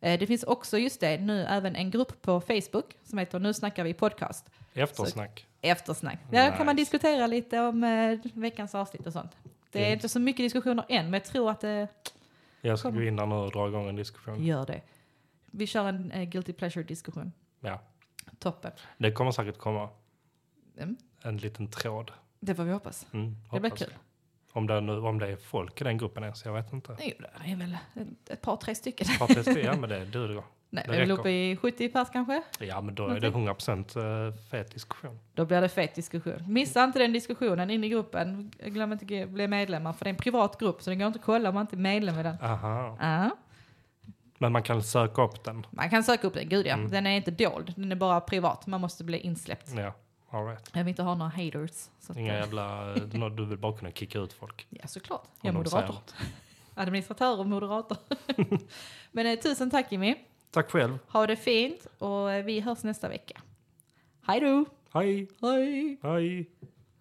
Eh, det finns också, just det, nu även en grupp på Facebook som heter Nu snackar vi podcast. Eftersnack. Eftersnack. Där Nice. kan man diskutera lite om eh, veckans avsnitt och sånt. Det är Grymt. inte så mycket diskussioner än, men jag tror att det Jag ska kom. gå in där nu och dra igång en diskussion. gör det. Vi kör en eh, guilty pleasure-diskussion. Ja. Toppen. Det kommer säkert komma Mm. en liten tråd. Det får vi hoppas. Mm, Det blir hoppas. kul. Om det, nu, om det är folk i den gruppen ens, jag vet inte. Jo, det är väl ett par, tre stycken. Har testat- Ja, men det duger. Nej, det vi är väl räcker. uppe i 70 pers kanske. Ja, men då är det 100% eh, fet diskussion. Då blir det fet diskussion. Missa inte den diskussionen in i gruppen. Glöm inte att ge- bli medlemmar, för det är en privat grupp så det går inte att kolla om man inte är medlem i den. Aha. Ja, Men man kan söka upp den. man kan söka upp den, gud ja. Mm. Den är inte dold, den är bara privat. Man måste bli insläppt. Ja, all right. Jag vill inte ha några haters. Så att, Mm. Inga eh, jävla... Du vill bara kunna kicka ut folk. ja, såklart. Om Jag är de säger moderator. något. Administratör och moderator. Men eh, tusen tack Jimmy. Tack själv. Ha det fint och eh, vi hörs nästa vecka. Hej då! Hej, Hej! hej,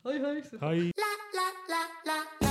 Hej hej! hej. la la la la